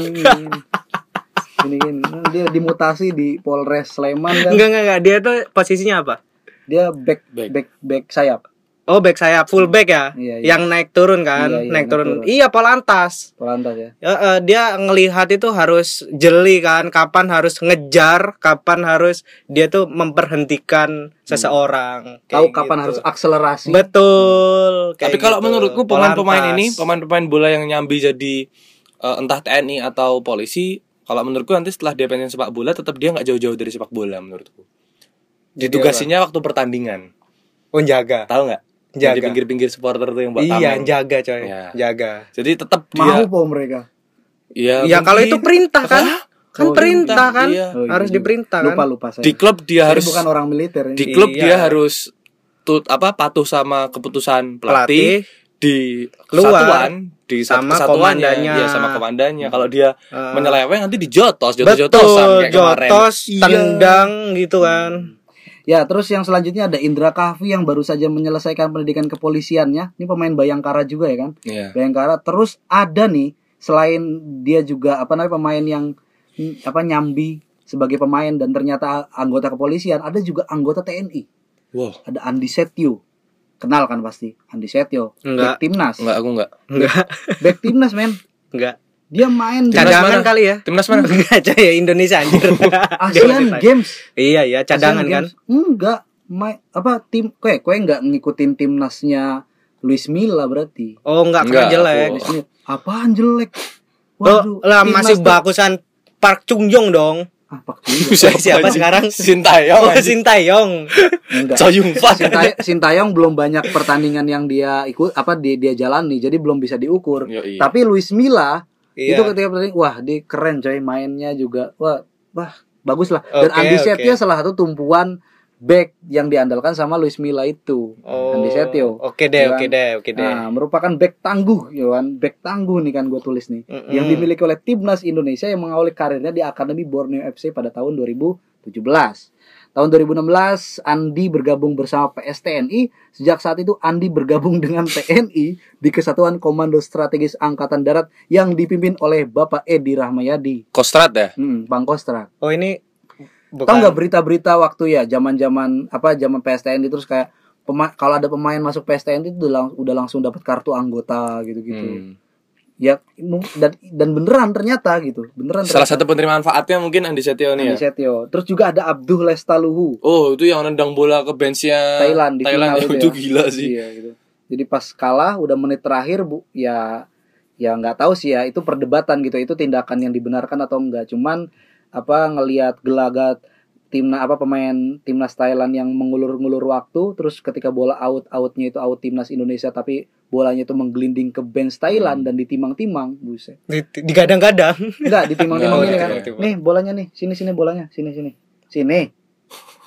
Speaker 2: Gini gini. Nah, Dia dimutasi di Polres Sleman kan.
Speaker 3: enggak enggak enggak dia tuh posisinya apa?
Speaker 2: Dia back
Speaker 1: Back.
Speaker 2: back back sayap.
Speaker 3: Oh back sayap, full back ya.
Speaker 2: Iya, iya.
Speaker 3: Yang naik turun kan,
Speaker 2: Iya,
Speaker 3: naik
Speaker 2: iya, naik
Speaker 3: turun.
Speaker 2: turun.
Speaker 3: Iya Polantas.
Speaker 2: Polantas ya.
Speaker 3: Ya, eh, dia ngelihat itu harus jeli kan, kapan harus ngejar, kapan harus dia tuh memperhentikan seseorang. Kayak
Speaker 2: Hmm. Tahu kapan
Speaker 3: gitu.
Speaker 2: harus akselerasi.
Speaker 3: Betul. kayak
Speaker 1: tapi kalau
Speaker 3: gitu.
Speaker 1: menurutku pemain-pemain
Speaker 3: Polantas.
Speaker 1: ini, pemain-pemain bola yang nyambi jadi eh, entah TNI atau polisi, kalau menurutku nanti setelah dia pensiun sepak bola tetap dia nggak jauh-jauh dari sepak bola menurutku.
Speaker 3: Jadi
Speaker 1: Ditugasinya waktu pertandingan.
Speaker 3: Oh, jaga.
Speaker 1: Tahu nggak? Yang Di
Speaker 3: Jaga.
Speaker 1: pinggir-pinggir supporter tuh yang buat
Speaker 3: Iya,
Speaker 1: tameng.
Speaker 3: jaga coy.
Speaker 1: Iya.
Speaker 3: Jaga.
Speaker 1: Jadi tetap
Speaker 2: Mau
Speaker 1: dia
Speaker 2: po mereka.
Speaker 1: Iya,
Speaker 3: Ya kalau itu
Speaker 1: mungkin.
Speaker 3: perintah kan. Kan
Speaker 2: Oh,
Speaker 3: perintah
Speaker 1: perintah,
Speaker 3: kan.
Speaker 1: iya.
Speaker 2: Oh, iya
Speaker 3: Harus
Speaker 2: juga.
Speaker 3: diperintah kan.
Speaker 2: Lupa lupa saya.
Speaker 1: di klub dia
Speaker 2: Jadi
Speaker 1: harus
Speaker 2: bukan orang militer ini.
Speaker 1: di klub
Speaker 3: Iya.
Speaker 1: dia harus tut apa patuh sama keputusan pelatih,
Speaker 3: pelatih
Speaker 1: di
Speaker 3: Keluar.
Speaker 1: kesatuan di sat-
Speaker 3: Sama
Speaker 1: kesatuannya,
Speaker 3: komandannya.
Speaker 1: iya, sama komandannya. Kalau dia
Speaker 3: eh,
Speaker 1: menyeleweng nanti dijotos, jotos-jotosan
Speaker 3: betul
Speaker 1: kayak kemarin.
Speaker 3: jotos
Speaker 1: Iya.
Speaker 3: tendang gitu kan
Speaker 2: Ya, terus yang selanjutnya ada Indra Kahvi yang baru saja menyelesaikan pendidikan kepolisiannya. Ini pemain Bayangkara juga ya kan?
Speaker 1: Iya.
Speaker 2: Bayangkara. Terus ada nih selain dia juga apa namanya pemain yang hmm, apa nyambi sebagai pemain dan ternyata anggota kepolisian, ada juga anggota TNI.
Speaker 1: Wow.
Speaker 2: Ada Andi Setio. Kenal kan pasti Andi Setio.
Speaker 3: Enggak.
Speaker 2: Back timnas.
Speaker 1: Enggak, aku enggak.
Speaker 3: enggak
Speaker 2: Back timnas, men.
Speaker 3: enggak
Speaker 2: Dia main di
Speaker 1: Timnas
Speaker 3: cadangan
Speaker 1: mana?
Speaker 3: kali ya
Speaker 1: Timnas mana?
Speaker 3: enggak aja ya Indonesia anjir
Speaker 2: ASEAN Games.
Speaker 3: iya iya cadangan
Speaker 2: Asian
Speaker 3: kan
Speaker 2: Games. Enggak. Ma- apa tim kue kue enggak ngikutin timnasnya Luis Milla berarti.
Speaker 3: oh enggak karena
Speaker 1: Enggak,
Speaker 3: jelek
Speaker 1: aku-
Speaker 2: Luis Milla. Apaan jelek?
Speaker 3: Oh, lah
Speaker 2: timnas
Speaker 3: masih
Speaker 2: tuh-
Speaker 3: bagusan Park Chung Jong dong.
Speaker 2: Ah, Pak Jung.
Speaker 3: Siapa
Speaker 1: anjing?
Speaker 3: sekarang? Oh,
Speaker 1: Sintayong. anjing.
Speaker 3: Sintayong.
Speaker 2: Enggak.
Speaker 1: Soyung Fan.
Speaker 2: Sintay- Sintayong belum banyak pertandingan yang dia ikut apa dia, dia jalani jadi belum bisa diukur.
Speaker 1: Yoi.
Speaker 2: Tapi Luis Milla
Speaker 3: Iya.
Speaker 2: itu ketika pertandingan wah dia keren coy mainnya juga. Wah, wah bagus lah. Dan
Speaker 3: Oke,
Speaker 2: Andi
Speaker 3: oke.
Speaker 2: Setio salah satu tumpuan back yang diandalkan sama Luis Milla itu.
Speaker 3: Oh,
Speaker 2: Andi Setio.
Speaker 3: Oke deh,
Speaker 2: Bilang,
Speaker 3: oke deh, oke deh.
Speaker 2: Nah, merupakan back tangguh, ya kan? Back tangguh nih kan gue tulis nih.
Speaker 3: Mm-mm.
Speaker 2: Yang dimiliki oleh timnas Indonesia yang mengawali karirnya di Akademi Borneo FC pada tahun 2017. Tahun 2016, Andi bergabung bersama PSTNI. Sejak saat itu, Andi bergabung dengan TNI di Kesatuan Komando Strategis Angkatan Darat yang dipimpin oleh Bapak Edi Rahmayadi,
Speaker 1: Kostrat ya?
Speaker 2: hmm, Bang Kostra.
Speaker 3: Oh, ini
Speaker 2: Tahu nggak
Speaker 3: bukan
Speaker 2: berita-berita waktu ya zaman-zaman apa zaman PSTN terus kayak pema- kalau ada pemain masuk PSTN itu udah, lang- udah langsung dapat kartu anggota
Speaker 1: Hmm.
Speaker 2: gitu-gitu. Ya mu- dan dan beneran ternyata gitu. Beneran
Speaker 1: Salah
Speaker 2: ternyata.
Speaker 1: satu penerima manfaatnya mungkin Andi Setio nih ya.
Speaker 2: Andi Setio. Terus juga ada Abduh Lestaluhu
Speaker 1: Oh, itu yang nendang bola ke benchnya
Speaker 2: Thailand di
Speaker 1: Eh, Thailand
Speaker 2: final
Speaker 1: itu,
Speaker 2: itu ya.
Speaker 1: gila sih.
Speaker 2: Iya gitu. Jadi pas kalah udah menit terakhir Bu ya ya nggak tahu sih ya itu perdebatan gitu itu tindakan yang dibenarkan atau enggak cuman apa ngelihat gelagat timna apa pemain timnas Thailand yang mengulur-ngulur waktu terus ketika bola out outnya itu out timnas Indonesia tapi bolanya itu menggelinding ke bench
Speaker 1: Hmm.
Speaker 2: Thailand dan ditimang-timang buset
Speaker 3: di- digadang-gadang.
Speaker 2: enggak ditimang-timang
Speaker 1: Oh, iya,
Speaker 2: ini kan
Speaker 1: iya.
Speaker 2: nih bolanya nih sini sini bolanya sini sini sini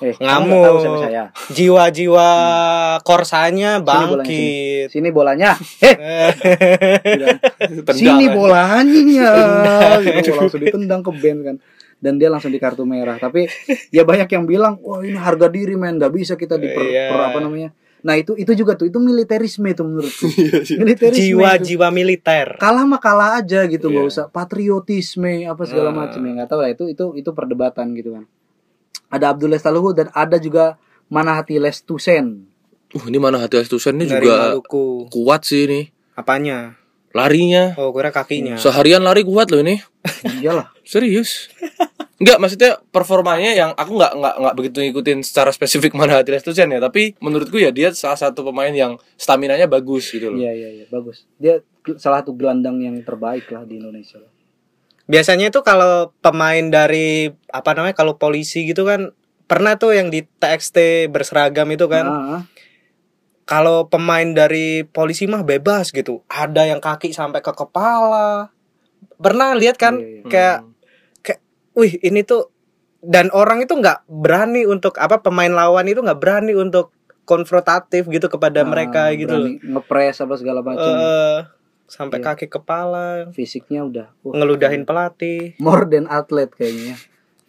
Speaker 2: eh kamu nggak
Speaker 3: Ngamuk.
Speaker 2: tahu sama saya
Speaker 3: Jiwa-jiwa korsanya
Speaker 2: Hmm. bolanya,
Speaker 3: bangkit.
Speaker 2: sini bolanya eh Bilang,
Speaker 1: Tendang
Speaker 3: eh.
Speaker 2: sini
Speaker 3: kan.
Speaker 1: aja.
Speaker 2: bolanya gitu langsung ditendang ke band kan dan dia langsung di kartu merah tapi ya banyak yang bilang wah ini harga diri men nggak bisa kita diper
Speaker 3: Iya.
Speaker 2: per- apa namanya nah itu itu juga tuh itu militerisme itu menurutku militerisme itu.
Speaker 3: Jiwa-jiwa militer.
Speaker 2: kalah mah kalah aja gitu nggak
Speaker 1: Iya.
Speaker 2: usah patriotisme apa segala
Speaker 1: Hmm.
Speaker 2: macam ya nggak tahu lah itu itu itu perdebatan gitu kan ada Abdul Lestaluhu dan ada juga Manahati Lestusen
Speaker 1: Uh, ini mana hati Astusen ini
Speaker 3: Dari
Speaker 1: juga
Speaker 3: Maluku.
Speaker 1: kuat sih ini.
Speaker 3: Apanya?
Speaker 1: Larinya
Speaker 3: Oh, kira kakinya.
Speaker 2: Hmm,
Speaker 1: seharian lari kuat loh ini.
Speaker 2: iyalah
Speaker 1: Serius. Enggak, maksudnya performanya yang aku nggak nggak nggak begitu ngikutin secara spesifik mana hati Astusen ya, tapi menurutku ya dia salah satu pemain yang staminanya bagus gitu loh.
Speaker 2: iya iya iya bagus dia gel- salah satu gelandang yang terbaik lah di Indonesia
Speaker 3: Biasanya itu kalau pemain dari apa namanya kalau polisi gitu kan pernah tuh yang di TXT berseragam itu kan
Speaker 2: Ah.
Speaker 3: kalau pemain dari polisi mah bebas gitu ada yang kaki sampai ke kepala pernah lihat kan
Speaker 2: Iya,
Speaker 1: Hmm.
Speaker 2: iya.
Speaker 3: kayak wih ini tuh dan orang itu nggak berani untuk apa pemain lawan itu nggak berani untuk konfrontatif gitu kepada
Speaker 2: Ah,
Speaker 3: mereka gitu loh
Speaker 2: berani ngepres apa segala macam
Speaker 3: Eh, sampai
Speaker 2: Iya.
Speaker 3: kaki kepala
Speaker 2: fisiknya udah wah,
Speaker 3: ngeludahin pelatih
Speaker 2: more than atlet kayaknya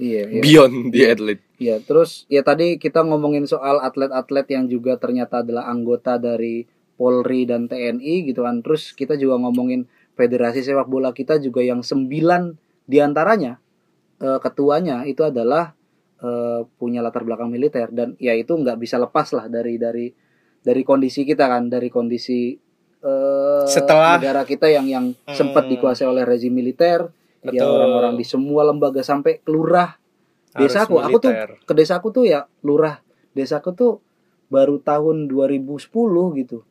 Speaker 2: iya iya
Speaker 1: beyond the athlete.
Speaker 2: Iya, terus ya tadi kita ngomongin soal atlet-atlet yang juga ternyata adalah anggota dari Polri dan TNI gitu kan terus kita juga ngomongin federasi sepak bola kita juga yang sembilan diantaranya eh, ketuanya itu adalah eh, punya latar belakang militer dan ya itu nggak bisa lepas lah dari dari dari kondisi kita kan dari kondisi eh,
Speaker 3: Setelah-
Speaker 2: negara kita yang yang sempat
Speaker 3: Hmm.
Speaker 2: dikuasai oleh rezim militer ya orang-orang di semua lembaga sampai kelurah
Speaker 3: Harus
Speaker 2: desaku aku tuh
Speaker 3: militer.
Speaker 2: ke desaku tuh ya lurah desaku tuh baru tahun 2010 gitu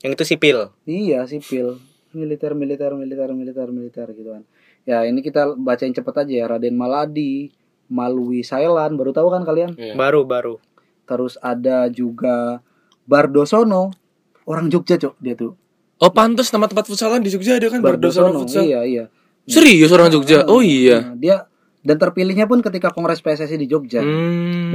Speaker 3: yang itu sipil
Speaker 2: iya sipil militer militer militer militer militer gitu kan ya ini kita bacain cepet aja ya Raden Maladi Malwi Sailan baru tahu kan kalian
Speaker 3: baru baru
Speaker 2: terus ada juga Bardosono orang Jogja cok dia tuh
Speaker 1: Oh, pantas
Speaker 3: iya.
Speaker 1: nama
Speaker 3: Hmm.
Speaker 1: tempat futsalan di Jogja ada kan Bardosono Futsal.
Speaker 2: iya iya
Speaker 1: Serius orang Jogja. Oh iya.
Speaker 2: Nah, dia dan terpilihnya pun ketika kongres PSSI di Jogja.
Speaker 1: Hmm.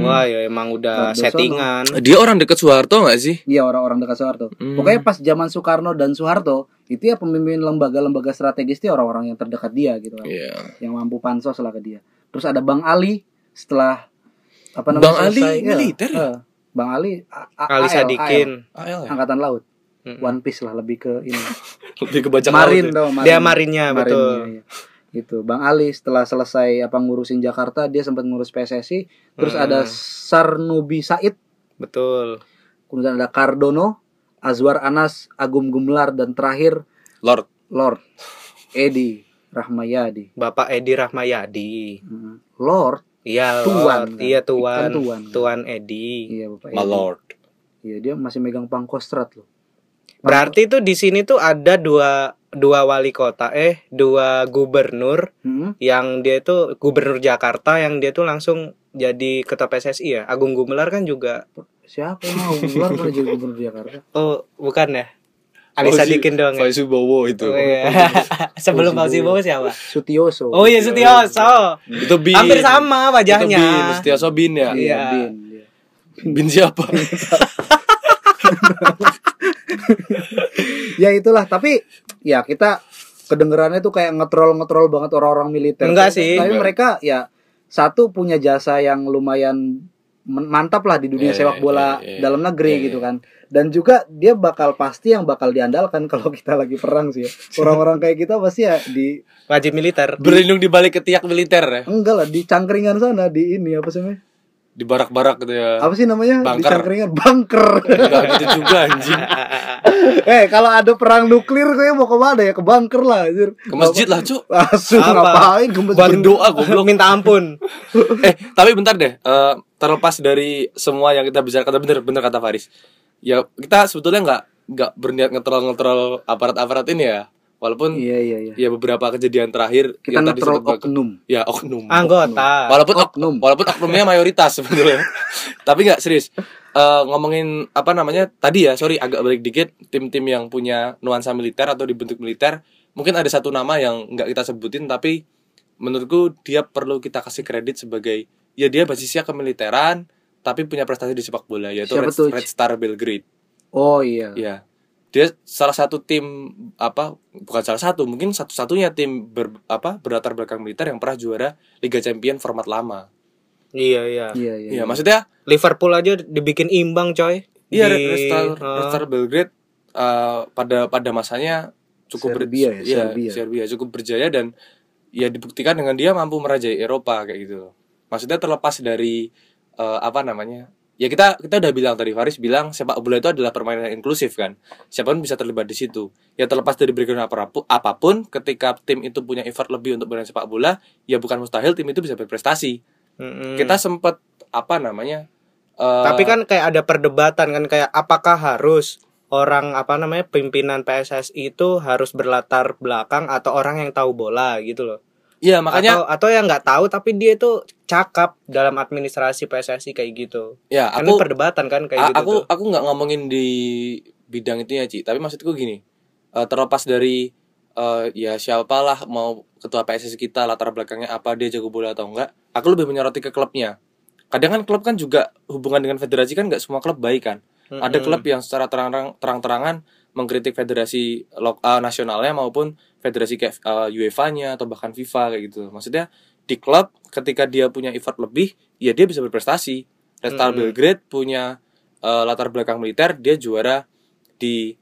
Speaker 3: Iya. Wah, ya emang udah
Speaker 2: Nah, dosa
Speaker 3: settingan.
Speaker 1: Dia orang deket Soeharto gak sih?
Speaker 2: Iya orang-orang dekat Soeharto.
Speaker 1: Hmm.
Speaker 2: Pokoknya pas zaman Soekarno dan Soeharto itu ya pemimpin lembaga-lembaga strategis itu ya orang-orang yang terdekat dia gitu kan,
Speaker 1: Iya.
Speaker 2: yang mampu pansos lah ke dia. Terus ada Bang Ali setelah apa namanya?
Speaker 1: Bang Ali
Speaker 2: selesai- iya,
Speaker 1: militer ya?
Speaker 2: eh, Bang Ali A- A-
Speaker 3: Kali
Speaker 2: AL,
Speaker 3: Sadikin. Hmm.
Speaker 1: AL
Speaker 2: AL,
Speaker 1: ya?
Speaker 2: angkatan laut.
Speaker 3: Mm-mm.
Speaker 2: One Piece lah lebih ke ini.
Speaker 1: Lebih kebaca
Speaker 2: Marin tau, Marin.
Speaker 3: Dia marinnya
Speaker 2: Marin,
Speaker 3: betul.
Speaker 2: iya, iya. Gitu. Bang Ali setelah selesai apa ngurusin Jakarta, dia sempat ngurus PSSI, terus
Speaker 3: Hmm.
Speaker 2: ada Sarnubi Said,
Speaker 3: Betul.
Speaker 2: kemudian ada Cardono, Azwar Anas, Agum Gumelar dan terakhir
Speaker 1: Lord.
Speaker 2: Lord Edi Rahmayadi.
Speaker 3: Bapak Edi Rahmayadi.
Speaker 2: Hmm. Lord,
Speaker 3: Iya, Lord.
Speaker 2: Tuan,
Speaker 3: Iya,
Speaker 2: kan
Speaker 3: tuan.
Speaker 2: tuan.
Speaker 3: Tuan Edi.
Speaker 2: Iya, Bapak
Speaker 1: My
Speaker 2: Edi.
Speaker 1: Lord.
Speaker 2: Iya, dia masih megang pangkostrat loh.
Speaker 3: Berarti tuh di sini tuh ada dua dua wali kota eh dua gubernur
Speaker 2: Hmm.
Speaker 3: yang dia itu gubernur Jakarta yang dia tuh langsung jadi ketua PSSI ya. Agung Gumelar kan juga
Speaker 2: Siapa yang mau Gumelar pernah jadi gubernur Jakarta?
Speaker 3: oh bukan ya? Ali
Speaker 1: Fauzi-
Speaker 3: Sadikin doang ya.
Speaker 1: Fauzi Bowo Oh, iya. itu.
Speaker 3: Oh,
Speaker 1: Oh,
Speaker 3: iya. Sebelum Fauzi
Speaker 2: Fauzi Bowo.
Speaker 3: Bowo siapa?
Speaker 2: Sutioso.
Speaker 3: Oh iya Sutioso.
Speaker 1: Itu Bin.
Speaker 3: Hampir sama
Speaker 1: Itu Bin,
Speaker 3: wajahnya.
Speaker 1: Setiaso Bin ya.
Speaker 2: Iya,
Speaker 3: Iya.
Speaker 2: Bin, iya.
Speaker 1: Bin siapa?
Speaker 2: ya itulah tapi ya kita kedengerannya tuh kayak ngetrol ngetrol banget orang-orang militer
Speaker 3: Enggak
Speaker 2: Tapi-
Speaker 3: sih.
Speaker 2: tapi
Speaker 1: Enggak.
Speaker 2: mereka ya satu punya jasa yang lumayan men- mantap lah di dunia
Speaker 1: Iya,
Speaker 2: sepak
Speaker 1: iya,
Speaker 2: bola
Speaker 1: iya, iya.
Speaker 2: dalam negeri
Speaker 1: Iya, iya.
Speaker 2: gitu kan dan juga dia bakal pasti yang bakal diandalkan kalau kita lagi perang sih ya. orang-orang kayak kita pasti ya di
Speaker 3: Wajib militer.
Speaker 1: Berlindung di balik ketiak militer ya.
Speaker 2: enggak lah di cangkringan sana di ini apa sih namanya
Speaker 1: Di barak-barak gitu ya.
Speaker 2: apa sih namanya di
Speaker 1: Bunker.
Speaker 2: cangkringan bunker
Speaker 1: Enggak gitu juga anjing.
Speaker 2: eh kalau ada perang nuklir kayaknya mau kemana ya ke bunker lah anjir.
Speaker 1: Ke masjid lah, Cuk.
Speaker 2: langsung
Speaker 3: Apa?
Speaker 2: ngapain ke masjid?
Speaker 1: Berdoa goblok.
Speaker 3: Belum minta ampun.
Speaker 1: eh tapi bentar deh Eh, terlepas dari semua yang kita bicarakan kata bener bener kata Faris ya kita sebetulnya nggak nggak berniat ngetrol ngetrol aparat aparat ini ya walaupun
Speaker 2: iya iya iya
Speaker 1: ya beberapa kejadian terakhir
Speaker 2: kita
Speaker 1: yang
Speaker 2: ngetrol
Speaker 1: sempat bak-
Speaker 2: oknum
Speaker 1: ya oknum
Speaker 3: Anggota.
Speaker 1: walaupun ok-
Speaker 2: Oknum.
Speaker 1: walaupun oknumnya mayoritas sebetulnya tapi nggak serius Eh, ngomongin apa namanya tadi ya sorry agak balik dikit tim-tim yang punya nuansa militer atau dibentuk militer mungkin ada satu nama yang nggak kita sebutin tapi menurutku dia perlu kita kasih kredit sebagai ya dia basisnya kemiliteran tapi punya prestasi di sepak bola yaitu
Speaker 2: Siapa
Speaker 1: Red,
Speaker 2: tuh?
Speaker 1: Red Star Belgrade
Speaker 2: oh iya
Speaker 1: ya dia salah satu tim apa bukan salah satu mungkin satu-satunya tim ber, apa berlatar belakang militer yang pernah juara Liga Champion format lama
Speaker 3: Iya, iya.
Speaker 2: iya iya
Speaker 1: Iya, maksudnya
Speaker 3: Liverpool aja dibikin imbang, coy.
Speaker 1: iya
Speaker 3: Di-
Speaker 1: Red Star,
Speaker 3: Ah.
Speaker 1: Red Star Belgrade eh, pada pada masanya cukup ber-
Speaker 2: Serbia ya,
Speaker 1: iya,
Speaker 2: Serbia.
Speaker 1: Serbia cukup berjaya dan ya dibuktikan dengan dia mampu merajai Eropa kayak gitu. Maksudnya terlepas dari eh, apa namanya? Ya kita kita udah bilang tadi Faris bilang sepak bola itu adalah permainan inklusif kan. Siapapun bisa terlibat di situ. Ya terlepas dari background aparapu- apapun ketika tim itu punya effort lebih untuk bermain sepak bola, ya bukan mustahil tim itu bisa berprestasi.
Speaker 3: Mm-mm.
Speaker 1: Kita sempat apa namanya? eh,
Speaker 3: Hmm. Tapi kan kayak ada perdebatan kan kayak apakah harus orang apa namanya pimpinan PSSI itu harus berlatar belakang atau orang yang tahu bola gitu loh.
Speaker 1: Iya makanya
Speaker 3: atau atau yang nggak tahu tapi dia itu cakap dalam administrasi PSSI kayak gitu.
Speaker 1: ya
Speaker 3: Kan
Speaker 1: aku
Speaker 3: perdebatan kan kayak gitu.
Speaker 1: a- aku
Speaker 3: tuh.
Speaker 1: aku nggak ngomongin di bidang itu ya Ci tapi maksudku gini eh, terlepas dari eh, ya siapalah mau ketua PSSI kita latar belakangnya apa dia jago bola atau enggak aku lebih menyoroti ke klubnya kadang kan klub kan juga hubungan dengan federasi kan nggak semua klub baik kan
Speaker 3: Mm-mm.
Speaker 1: ada klub yang secara terang terang-terangan mengkritik federasi lo- eh, nasionalnya maupun federasi kayak eh, UEFA-nya atau bahkan FIFA kayak gitu. Maksudnya di klub ketika dia punya effort lebih, ya dia bisa berprestasi. Red Star
Speaker 3: Mm-mm.
Speaker 1: Belgrade punya eh, latar belakang militer, dia juara di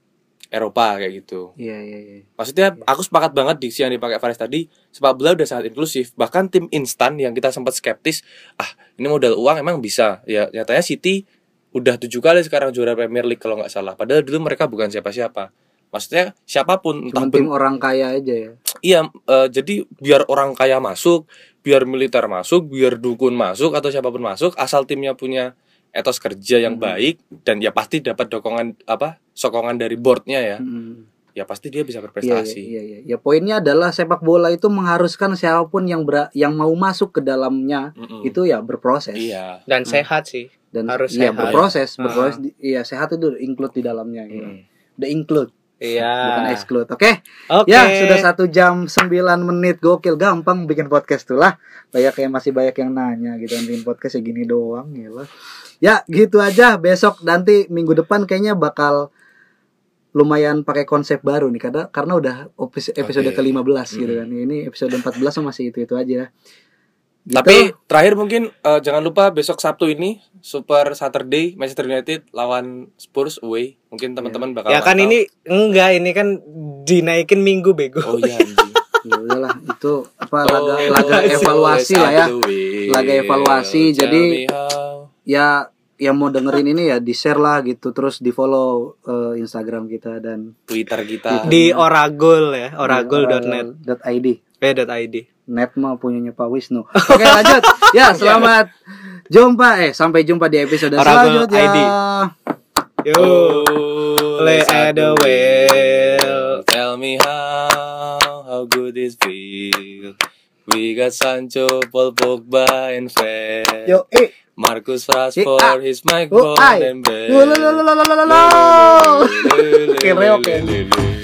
Speaker 1: Eropa kayak gitu.
Speaker 2: iya iya iya
Speaker 1: Maksudnya aku sepakat banget diksi yang dipakai Faris tadi Sepak bola udah sangat inklusif Bahkan tim instan yang kita sempat skeptis Ah ini modal uang emang bisa Ya nyatanya City udah tujuh kali sekarang juara Premier League kalau nggak salah Padahal dulu mereka bukan siapa-siapa Maksudnya siapapun entah
Speaker 2: cuma
Speaker 1: ben-
Speaker 2: tim orang kaya aja ya
Speaker 1: Iya, eh, jadi biar orang kaya masuk, biar militer masuk, biar dukun masuk atau siapapun masuk, asal timnya punya etos kerja yang
Speaker 2: Mhm.
Speaker 1: baik dan ya pasti dapat dokongan apa sokongan dari boardnya ya,
Speaker 2: Mm.
Speaker 1: ya pasti dia bisa
Speaker 2: iya iya
Speaker 1: berprestasi.
Speaker 2: iya, iya. ya poinnya adalah sepak bola itu mengharuskan siapapun yang bera- yang mau masuk ke dalamnya
Speaker 1: Mm-mm.
Speaker 2: itu ya berproses
Speaker 1: Iya.
Speaker 3: dan
Speaker 2: Hmm.
Speaker 3: sehat sih.
Speaker 2: dan
Speaker 3: harus sehat.
Speaker 2: iya berproses
Speaker 3: Ah.
Speaker 2: berproses di- iya sehat itu include di dalamnya gitu.
Speaker 1: Mm.
Speaker 2: the include bukan
Speaker 3: Iya.
Speaker 2: exclude. Oke.
Speaker 3: Oke.
Speaker 2: Ya, sudah satu jam 9 menit gokil gampang bikin podcast tuh lah. Banyak yang masih banyak yang nanya gitu kan bikin podcast ya gini doang ya Ya, gitu aja. Besok nanti minggu depan kayaknya bakal lumayan pakai konsep baru nih karena karena udah opis- episode
Speaker 1: Oke.
Speaker 2: ke-15 gitu kan. Ini episode 14 masih itu-itu aja. Gitu.
Speaker 1: Tapi terakhir mungkin eh, jangan lupa besok Sabtu ini Super Saturday Manchester United lawan Spurs away. Mungkin
Speaker 2: Iya.
Speaker 1: teman-teman bakal
Speaker 3: Ya kan
Speaker 1: pantau.
Speaker 3: ini enggak ini kan dinaikin minggu bego.
Speaker 1: Oh iya anjing.
Speaker 2: ya udahlah itu apa laga
Speaker 1: Oh,
Speaker 2: laga
Speaker 1: always
Speaker 2: evaluasi lah ya.
Speaker 1: on the way.
Speaker 2: Laga evaluasi,
Speaker 1: Tell
Speaker 2: jadi-
Speaker 1: me how.
Speaker 2: ya yang mau dengerin ini ya di share lah gitu terus di follow eh, Instagram kita dan
Speaker 1: Twitter kita
Speaker 3: Di Oragol ya, oragol.net.
Speaker 2: .id
Speaker 3: Eh, dot .id.
Speaker 2: net mah punyanya Pak Wisnu oke lanjut ya selamat jumpa eh sampai jumpa di episode
Speaker 3: Oragol
Speaker 2: selanjutnya
Speaker 3: ID. Yo. Lay at the wheel.
Speaker 1: Tell me how, how good it feel. We got Sancho, Paul Pogba, and Fred.
Speaker 2: yo eh
Speaker 1: Marcus Rashford,
Speaker 2: ah.
Speaker 1: he's my
Speaker 2: Oh,
Speaker 1: god
Speaker 2: ai.
Speaker 1: and Ben.
Speaker 2: Lalalalalalalala. Oke, re, oke.
Speaker 1: Lelelelelelele.